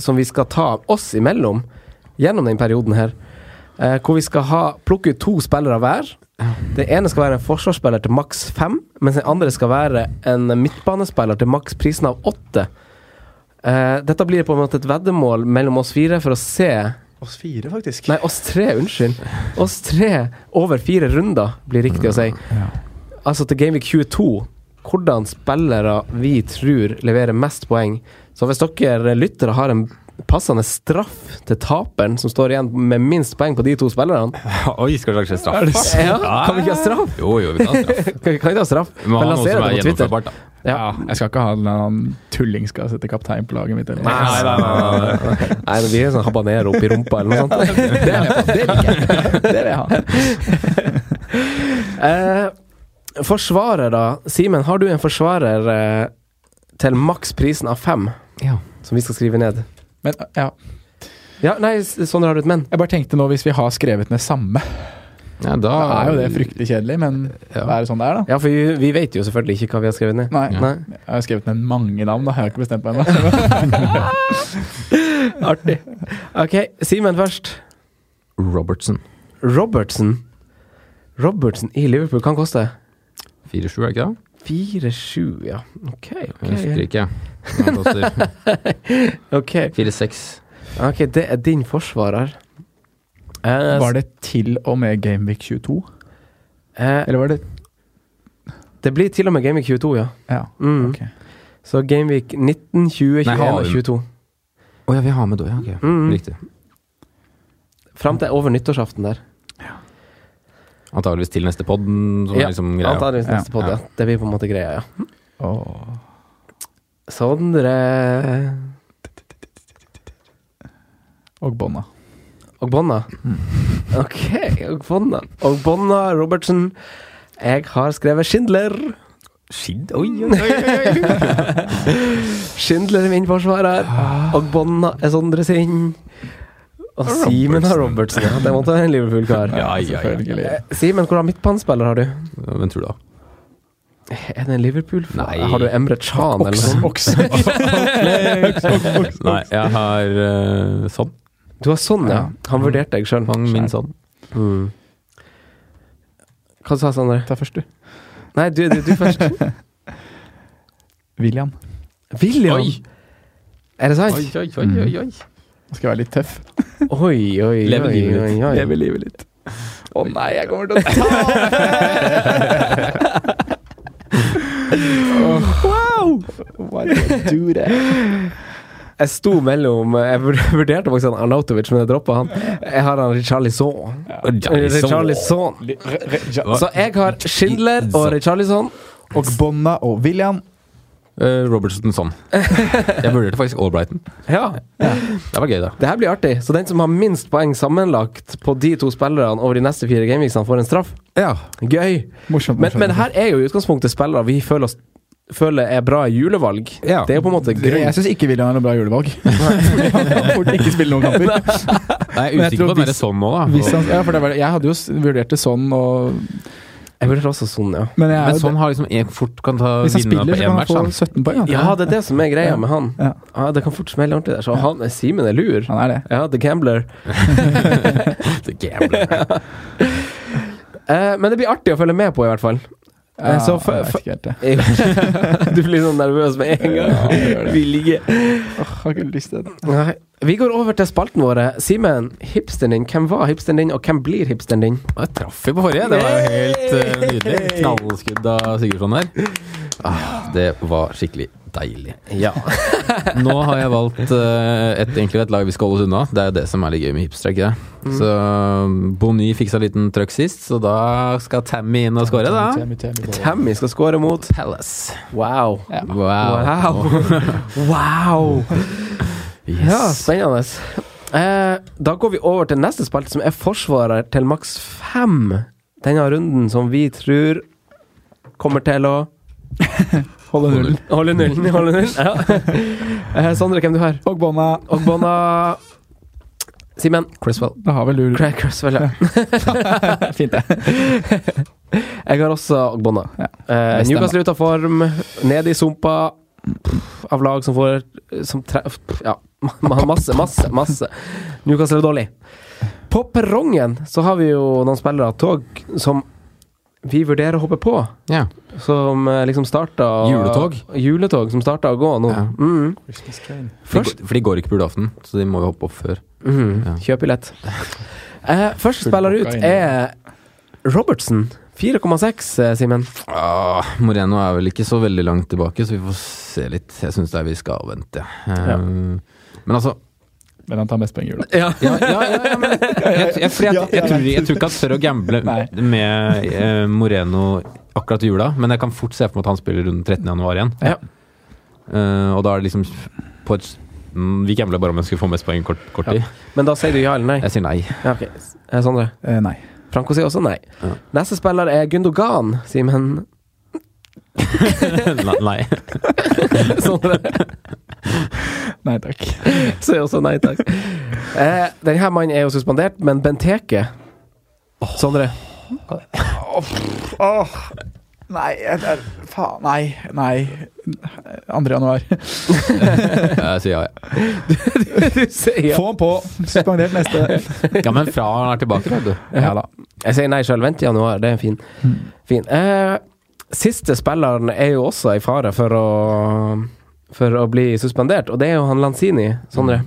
S3: som vi skal ta oss imellom gjennom den perioden her. Eh, hvor vi skal ha, plukke ut to spillere hver. Det ene skal være en forsvarsspiller til maks fem, mens den andre skal være en midtbanespiller til maks prisen av åtte. Eh, dette blir på en måte et veddemål mellom oss fire for å se
S6: Oss fire, faktisk.
S3: Nei, oss tre, unnskyld. Oss tre over fire runder, blir riktig å si. Altså til Gameweek 22, hvordan spillere vi tror leverer mest poeng. Så hvis dere lyttere har en passende straff til taperen, som står igjen med minst poeng på de to spillerne
S4: Oi, skal det lages straff?
S3: Er det sant? [laughs] Ja, [laughs] kan vi ikke ha straff?
S4: Jo, jo, vi kan ha straff.
S3: [laughs] Kan vi kan ikke ha straff?
S4: Vi må
S3: men
S4: ha noe
S3: lanserer det
S4: som er
S3: på Twitter.
S4: gjennomførbart, da.
S5: Ja, jeg skal ikke ha en eller annen tulling skal sette kaptein på laget mitt. Eller.
S3: Nei, nei, nei, nei, nei.
S4: [laughs]
S3: nei, det blir en sånn habanero oppi rumpa eller noe sånt. Det, det liker jeg. Det vil jeg ha. Eh, forsvarer, da. Simen, har du en forsvarer eh, til maksprisen av fem?
S5: Ja.
S3: Som vi skal skrive ned?
S5: Men, ja.
S3: Ja, nei, sånn har du et men.
S5: Jeg bare tenkte nå, hvis vi har skrevet ned samme,
S4: Ja, da,
S5: da er jo det fryktelig kjedelig, men det er jo sånn det er, da.
S3: Ja, for vi, vi vet jo selvfølgelig ikke hva vi har skrevet ned.
S5: Nei.
S3: Nei.
S5: Jeg har skrevet ned mange navn, da. Jeg har ikke bestemt meg
S3: [laughs]
S5: ennå.
S3: Artig. Ok, Simen først.
S4: Robertson.
S3: Robertson. Robertson i Liverpool kan koste
S4: 4-7, er det ikke det?
S3: 4-7, ja. Ok. ok.
S4: Jeg husker ikke. Hva han koster.
S3: Ok.
S4: 4-6.
S3: Ok, det er din forsvarer. Eh,
S5: Var det til og med Gameweek 22?
S3: eh,
S5: Eller var det
S3: det blir til og med Gameweek 22, ja.
S5: Ja.
S3: Mm.
S5: Ok.
S3: Så Gameweek 19, 20, 21
S4: Nei, har
S3: og
S4: hun-
S3: 22.
S4: Å ja, vi har med da, ja. ok.
S3: Mm.
S4: Riktig.
S3: Fram til over nyttårsaften der.
S4: Antakeligvis til neste pod, som
S3: Ja,
S4: er liksom greia.
S3: Antakeligvis neste
S5: Ja.
S3: podd, ja.
S4: Ja.
S3: Det blir på en måte greia, ja.
S5: Åh.
S3: Sondre
S5: Og Bonna.
S3: og Bonna.
S4: Mm.
S3: Ok, og Bonna. Og Bonna Robertsen. Jeg har skrevet Schindler.
S4: Skidd? Oi, oi, oi!
S3: [laughs] Schindler er min forsvarer. Og Bonna er Sondre sin. Og Simen har Robertsen. Ja, det måtte være en Liverpool-kar.
S4: Ja, ja, ja.
S5: Selvfølgelig.
S3: Simen, hvordan midtbanespiller har du?
S4: Hvem tror du, da?
S3: Er det en Liverpool?
S4: Nei.
S3: Har du Emre Chan eller noe
S5: Okse.
S3: sånt?
S5: Okse.
S4: Nei, jeg har eh, sånn.
S3: Du har sånn, ja. Han vurderte deg sjøl.
S4: Fang min sånn.
S3: Mm. Hva sa Sander?
S5: Ta først, du.
S3: Nei, du, du, du
S5: [laughs]
S3: først.
S5: William.
S3: William!
S4: Oi.
S3: Er det sant?
S4: Oi, oi, oi, oi, oi.
S5: Nå skal jeg være litt tøff.
S3: Oi, oi, oi.
S4: Leve Mm. livet
S3: oi,
S4: ditt.
S3: oi.
S5: Leve livet litt. Å nei, jeg kommer til å ta [laughs] Wow! Why did I do that?
S3: Jeg sto mellom Jeg vur- vurderte faktisk han Arnautovic, men jeg droppa han. Jeg har han Richarlison.
S4: Richarlison.
S3: Richarlison. Så jeg har Schindler og Richarlison.
S5: Og Bonna og William.
S4: Eh, Robertson sånn. Jeg vurderte faktisk Albrighton.
S3: Ja.
S4: Det var gøy, da.
S3: Det her blir artig. Så den som har minst poeng sammenlagt på de to spillerne over de neste fire gameweeksene, får en straff.
S4: Ja.
S3: Gøy!
S5: Morsomt.
S3: Men, men her er jo i utgangspunktet spillere vi føler, oss, føler er bra i julevalg.
S4: Ja.
S3: Det er jo på en måte
S5: Det-
S3: grunn
S5: Jeg syns ikke William er noe bra [laughs] julevalg. Fordi han kan fort ikke spille noen kamper.
S4: Jeg er
S5: Men jeg
S4: usikker
S5: tror
S4: på om det er
S5: hvis-
S4: sånn nå, da.
S5: Hvis han, ja, for det var, det- jeg hadde jo s- vurdert det sånn og
S3: Jeg vurderer også sånn, ja.
S5: Men jeg er jo-
S4: sånn har liksom en fort kan ta
S5: Hvis han
S4: vinne
S5: spiller,
S4: på
S5: så
S4: én
S5: kan han
S4: match.
S5: få
S4: da.
S5: 17 poeng. da.
S3: Ja, det er det som er greia
S5: Ja.
S3: med han.
S5: Ja.
S3: Ja, det kan fort smelle ordentlig der. Så han er Simen er lur.
S5: Han er det.
S3: Ja, the gambler.
S4: The gambler.
S3: Eh, men det blir artig å følge med på, i hvert fall. Eh,
S5: Ja,
S3: så for,
S5: jeg vet ikke helt det.
S3: for, [laughs] du blir sånn nervøs med en gang. Vi ligger
S5: Åh, jeg har ikke lyst til det.
S3: Nei. Vi går over til spalten våre. Simen, hipsteren din. Hvem var hipsteren din, og hvem blir hipsteren din?
S4: Jeg traff jo på forrige. Det var jo helt eh, nydelig. Knallskudd av Sigurdsson der. Ah, det var skikkelig deilig.
S3: Ja.
S4: Nå har jeg valgt eh, et, egentlig et lag vi skal holde oss unna. Det er jo det som er litt gøy med hipster, ikke det? Så eh, Bonny fiksa en liten trøkk sist, så da skal Tammy inn og score, da.
S5: Temi, temi, temi.
S3: Tammy skal score mot
S4: Palace.
S3: Wow.
S4: Wow.
S3: Wow. Ja,
S4: Yes.
S3: spennende. Eh, da går vi over til neste spalte, som er forsvarer til maks fem. Denne runden som vi tror kommer til å
S5: Holde nullen.
S3: Holde nullen, holde nullen. Ja. [laughs] Eh, Sondre, hvem du har?
S5: Og bånda.
S3: Ogbonna Simen. Cresswell.
S5: Da har vel du
S3: Craig Cresswell, ja.
S5: Mm. [laughs] Fint, det.
S3: Jeg har også Ogbonna.
S5: Ja.
S3: Eh,
S5: Det stemmer.
S3: Newcastle ut av form, ned i sumpa pff, av lag som får som tre, pff, Ja, [laughs] ma- masse, masse, masse. Newcastle er dårlig. På perrongen så har vi jo noen spillere av tog som vi vurderer å hoppe på.
S4: Ja.
S3: Som eh, liksom starta
S4: Juletog?
S3: Juletog som starta å gå nå.
S4: Ja.
S3: Mm.
S4: For de går- for de går ikke på julaften, så de må jo hoppe opp før.
S3: Mm.
S4: Ja.
S3: Kjøpbillett. Eh, første spiller ut
S5: inn.
S3: er Robertson. 4,6, eh, Simen.
S4: Ah, Moreno er vel ikke så veldig langt tilbake, så vi får se litt. Jeg syns vi skal avvente. Eh,
S3: Ja.
S4: Men altså
S5: Men han tar mest poeng i jula.
S4: Ja, ja, ja, ja, men jeg, jeg, for jeg, jeg, tror, jeg tror ikke han tør å gamble
S5: Nei.
S4: med eh, Moreno akkurat i jula, men jeg kan fort se for meg at han spiller rundt 13. januar igjen.
S3: Ja.
S4: Eh, og da er det liksom på et mm, Vi gambler bare om jeg skulle få mest poeng kort, kort tid.
S3: Men da sier du ja eller nei?
S4: Jeg sier nei.
S3: Ja, ok. Eh, Sondre?
S5: Eh, nei.
S3: Franco sier også nei.
S4: Ja.
S3: Neste spiller er Gundogan, Simen. [laughs]
S4: nei. nei.
S3: Sondre
S5: Nei takk.
S3: sier også nei, takk. Eh, denne mannen er jo suspendert, men Benteke Sondre.
S5: Nei, jeg, jeg, faen, nei, nei. 2. januar.
S4: Jeg sier ja, ja.
S3: Du sier ja.
S5: Få han på! Suspendert neste.
S4: ja men fra han er tilbake, vet du.
S5: Ja da.
S3: Jeg sier nei sjøl. Vent til januar, det er fin. fin. Eh, siste spilleren er jo også i fare for å for å bli suspendert, og det er jo han Lanzini, Sondre.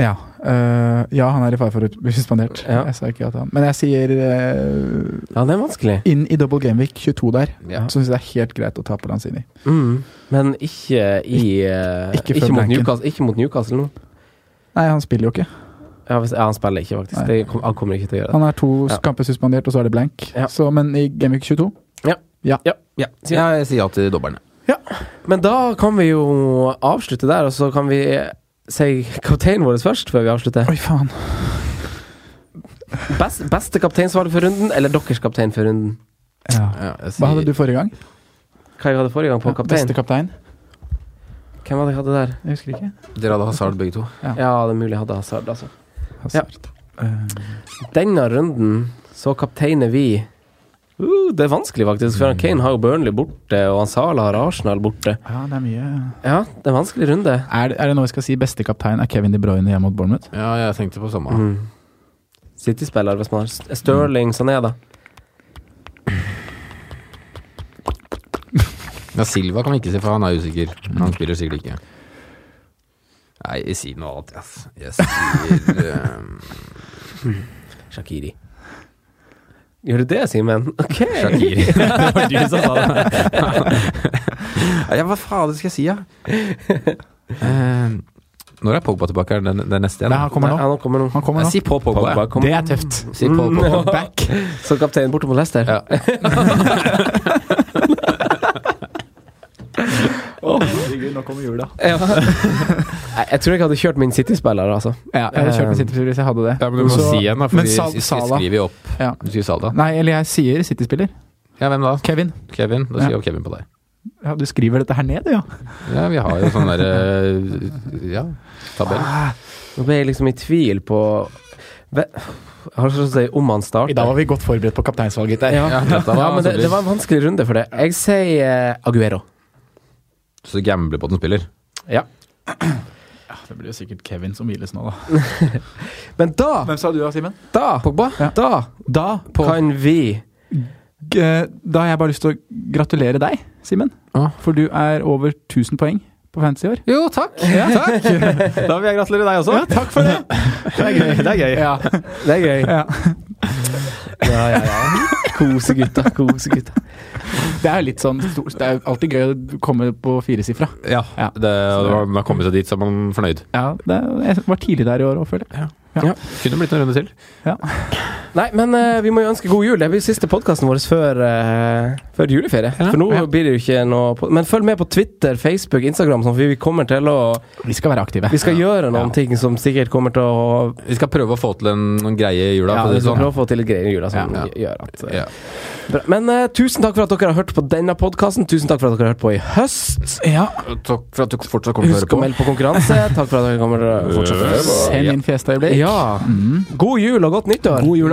S5: Ja, øh, ja, han er i fare for å bli suspendert.
S3: Ja.
S5: Jeg sa ikke at han Men jeg sier øh,
S3: Ja, det er vanskelig.
S5: inn i double game week 22 der,
S4: Ja.
S5: så syns jeg det er helt greit å ta på Lanzini.
S3: Mm. Men ikke i eh,
S5: Ikke
S3: Ikke,
S5: før
S3: mot
S5: blanken.
S3: Newcastle, ikke mot Newcastle nå.
S5: Nei, han spiller jo ikke.
S3: Ja, hvis, ja, han spiller ikke, faktisk.
S5: Nei.
S3: Det, kom- han kommer ikke til å gjøre det.
S5: Han er to
S3: Ja.
S5: kamper suspendert, og så er det blank.
S3: Ja.
S5: Så, men i game week 22
S3: Ja. Sier ja.
S4: Jeg sier ja til dobberne.
S3: Men da kan vi jo avslutte der, og så kan vi si kapteinen vår først, før vi avslutter.
S5: Oi, faen.
S3: Best, beste kapteinsvalg for runden, eller deres kaptein for runden?
S5: Ja.
S4: Ja, jeg sier,
S5: Hva hadde du forrige gang?
S3: Hva vi hadde forrige gang på kaptein?
S5: Beste kaptein?
S3: Hvem hadde jeg hadde der?
S5: Jeg husker ikke.
S4: Dere hadde hasard begge to.
S3: Ja, det er mulig jeg hadde Hazard, altså.
S5: Hazard. Øh,
S3: Denne runden så kapteiner vi uh, Det er vanskelig, faktisk, for han Kane har jo Burnley borte, og han Sala har Arsenal borte.
S5: ja, det er mye
S3: Ja, det er en vanskelig runde.
S5: Er, er det nå vi skal si beste kaptein er Kevin De Bruyne hjemme mot Bournemouth?
S4: Ja, jeg tenkte på samme.
S3: Mm. City-spiller, hvis man har St- Sterling, Sané, da.
S4: Ja, Silva kan vi ikke si, for han er usikker. Han spiller sikkert ikke. Nei, jeg sier noe annet, ass. Jeg sier eh,
S3: Shakiri. Gjør du det, Simen? [laughs] Ok!
S4: [laughs] Shakiri. [laughs] det var du som sa det. [laughs] Nei, ja, hva faen skal jeg si, da? Eh, når er Pogba tilbake? Er det, det er neste igjen?
S5: Nei, han kommer
S3: Nei,
S5: nå.
S3: han kommer nå.
S5: Han kommer
S4: Jeg
S5: nå.
S4: sier Paul Pogba.
S3: Pogba
S4: jeg.
S3: kommer.
S5: Det er tøft. Mm.
S4: Sier Paul Pogba.
S5: Back.
S3: Så kapteinen borte mot Leicester.
S4: Ja.
S5: nå kommer jula.
S3: Ja. [laughs] Nei, jeg tror jeg hadde kjørt min City-spiller, altså.
S5: Ja, jeg hadde kjørt med City hvis jeg hadde det.
S4: Ja, men du må
S5: Eh, Så-
S4: si en, da, for
S5: men
S4: vi
S5: Sal-
S4: vi
S5: Sala.
S4: skriver jo opp.
S5: Ja.
S4: Du sier Salda.
S5: Nei, eller jeg sier City-spiller.
S4: Ja, hvem da?
S5: Kevin.
S4: Kevin? Da sier jo Kevin på deg.
S5: Ja, du skriver dette her ned, du, ja.
S4: Ja, vi har jo sånn
S7: eh,
S4: derre Ja, tabell.
S3: Ah, Nå ble jeg liksom i tvil på Ve- Jeg har så lyst til å si om han starter.
S5: I dag var vi godt forberedt på kapteinsvalget.
S3: Ja, ja,
S7: dette var altså
S3: men det,
S4: altså
S7: solid.
S3: det var sånn- en vanskelig runde for det. Jeg sier eh, Aguero.
S7: Så du gambler på at den spiller?
S3: Ja.
S5: Det blir jo sikkert Kevin som hviles nå, da.
S3: Men da
S5: Hvem sa du da, Simen?
S3: Da,
S5: Pogba?
S3: da
S5: Da, på,
S3: kan vi
S5: G- da har jeg bare lyst til å gratulere deg, Simen.
S7: Ja.
S5: For du er over 1000 poeng på fantasy i år.
S7: Jo, takk!
S3: [laughs]
S7: takk. Da vil jeg gratulere deg også.
S5: takk for det!
S3: Det er gøy. Det er gøy. Ja, det er gøy.
S5: Ja.
S3: Ja, ja, ja. Kose gutta, kose gutta.
S5: Det er jo litt sånn stor- Det er jo alltid gøy å komme på firesifra.
S7: Ja,
S5: Ja.
S7: Det, og det var, man har kommet seg dit, så er man fornøyd.
S5: Ja, det, er- jeg var tidlig der i år òg, føler jeg. Ja.
S7: Kunne blitt en runde til.
S3: Nei, men eh, vi må jo ønske god jul. Det blir siste podkasten vår før, eh, før juleferie.
S7: Ja.
S3: For nå
S7: Ja.
S3: blir det jo ikke noe pod- Men følg med på Twitter, Facebook, Instagram, sånn, for vi kommer til å
S5: Vi skal være aktive.
S3: Vi skal gjøre noen
S5: Ja.
S3: ting som sikkert kommer til å
S7: Vi skal prøve å få til en, noen greie i jula.
S3: Ja,
S7: for å si
S3: vi
S7: det
S3: skal
S7: sånn.
S3: prøve å få til greier i jula som
S7: Ja.
S3: gjør at eh,
S7: Ja.
S3: bra. Men eh, tusen takk for at dere har hørt på denne podkasten. Tusen takk for at dere har hørt på i høst.
S5: Ja.
S7: Takk for at du fortsatt kommer til å høre
S3: Husk å
S7: på.
S3: melde på konkurranse.
S7: [laughs]
S3: Takk for at dere kommer til å fortsette å høre på.
S5: Send inn fjesøyeblikk.
S3: Ja.
S7: Mm.
S3: God jul og godt nyttår.
S5: God jul,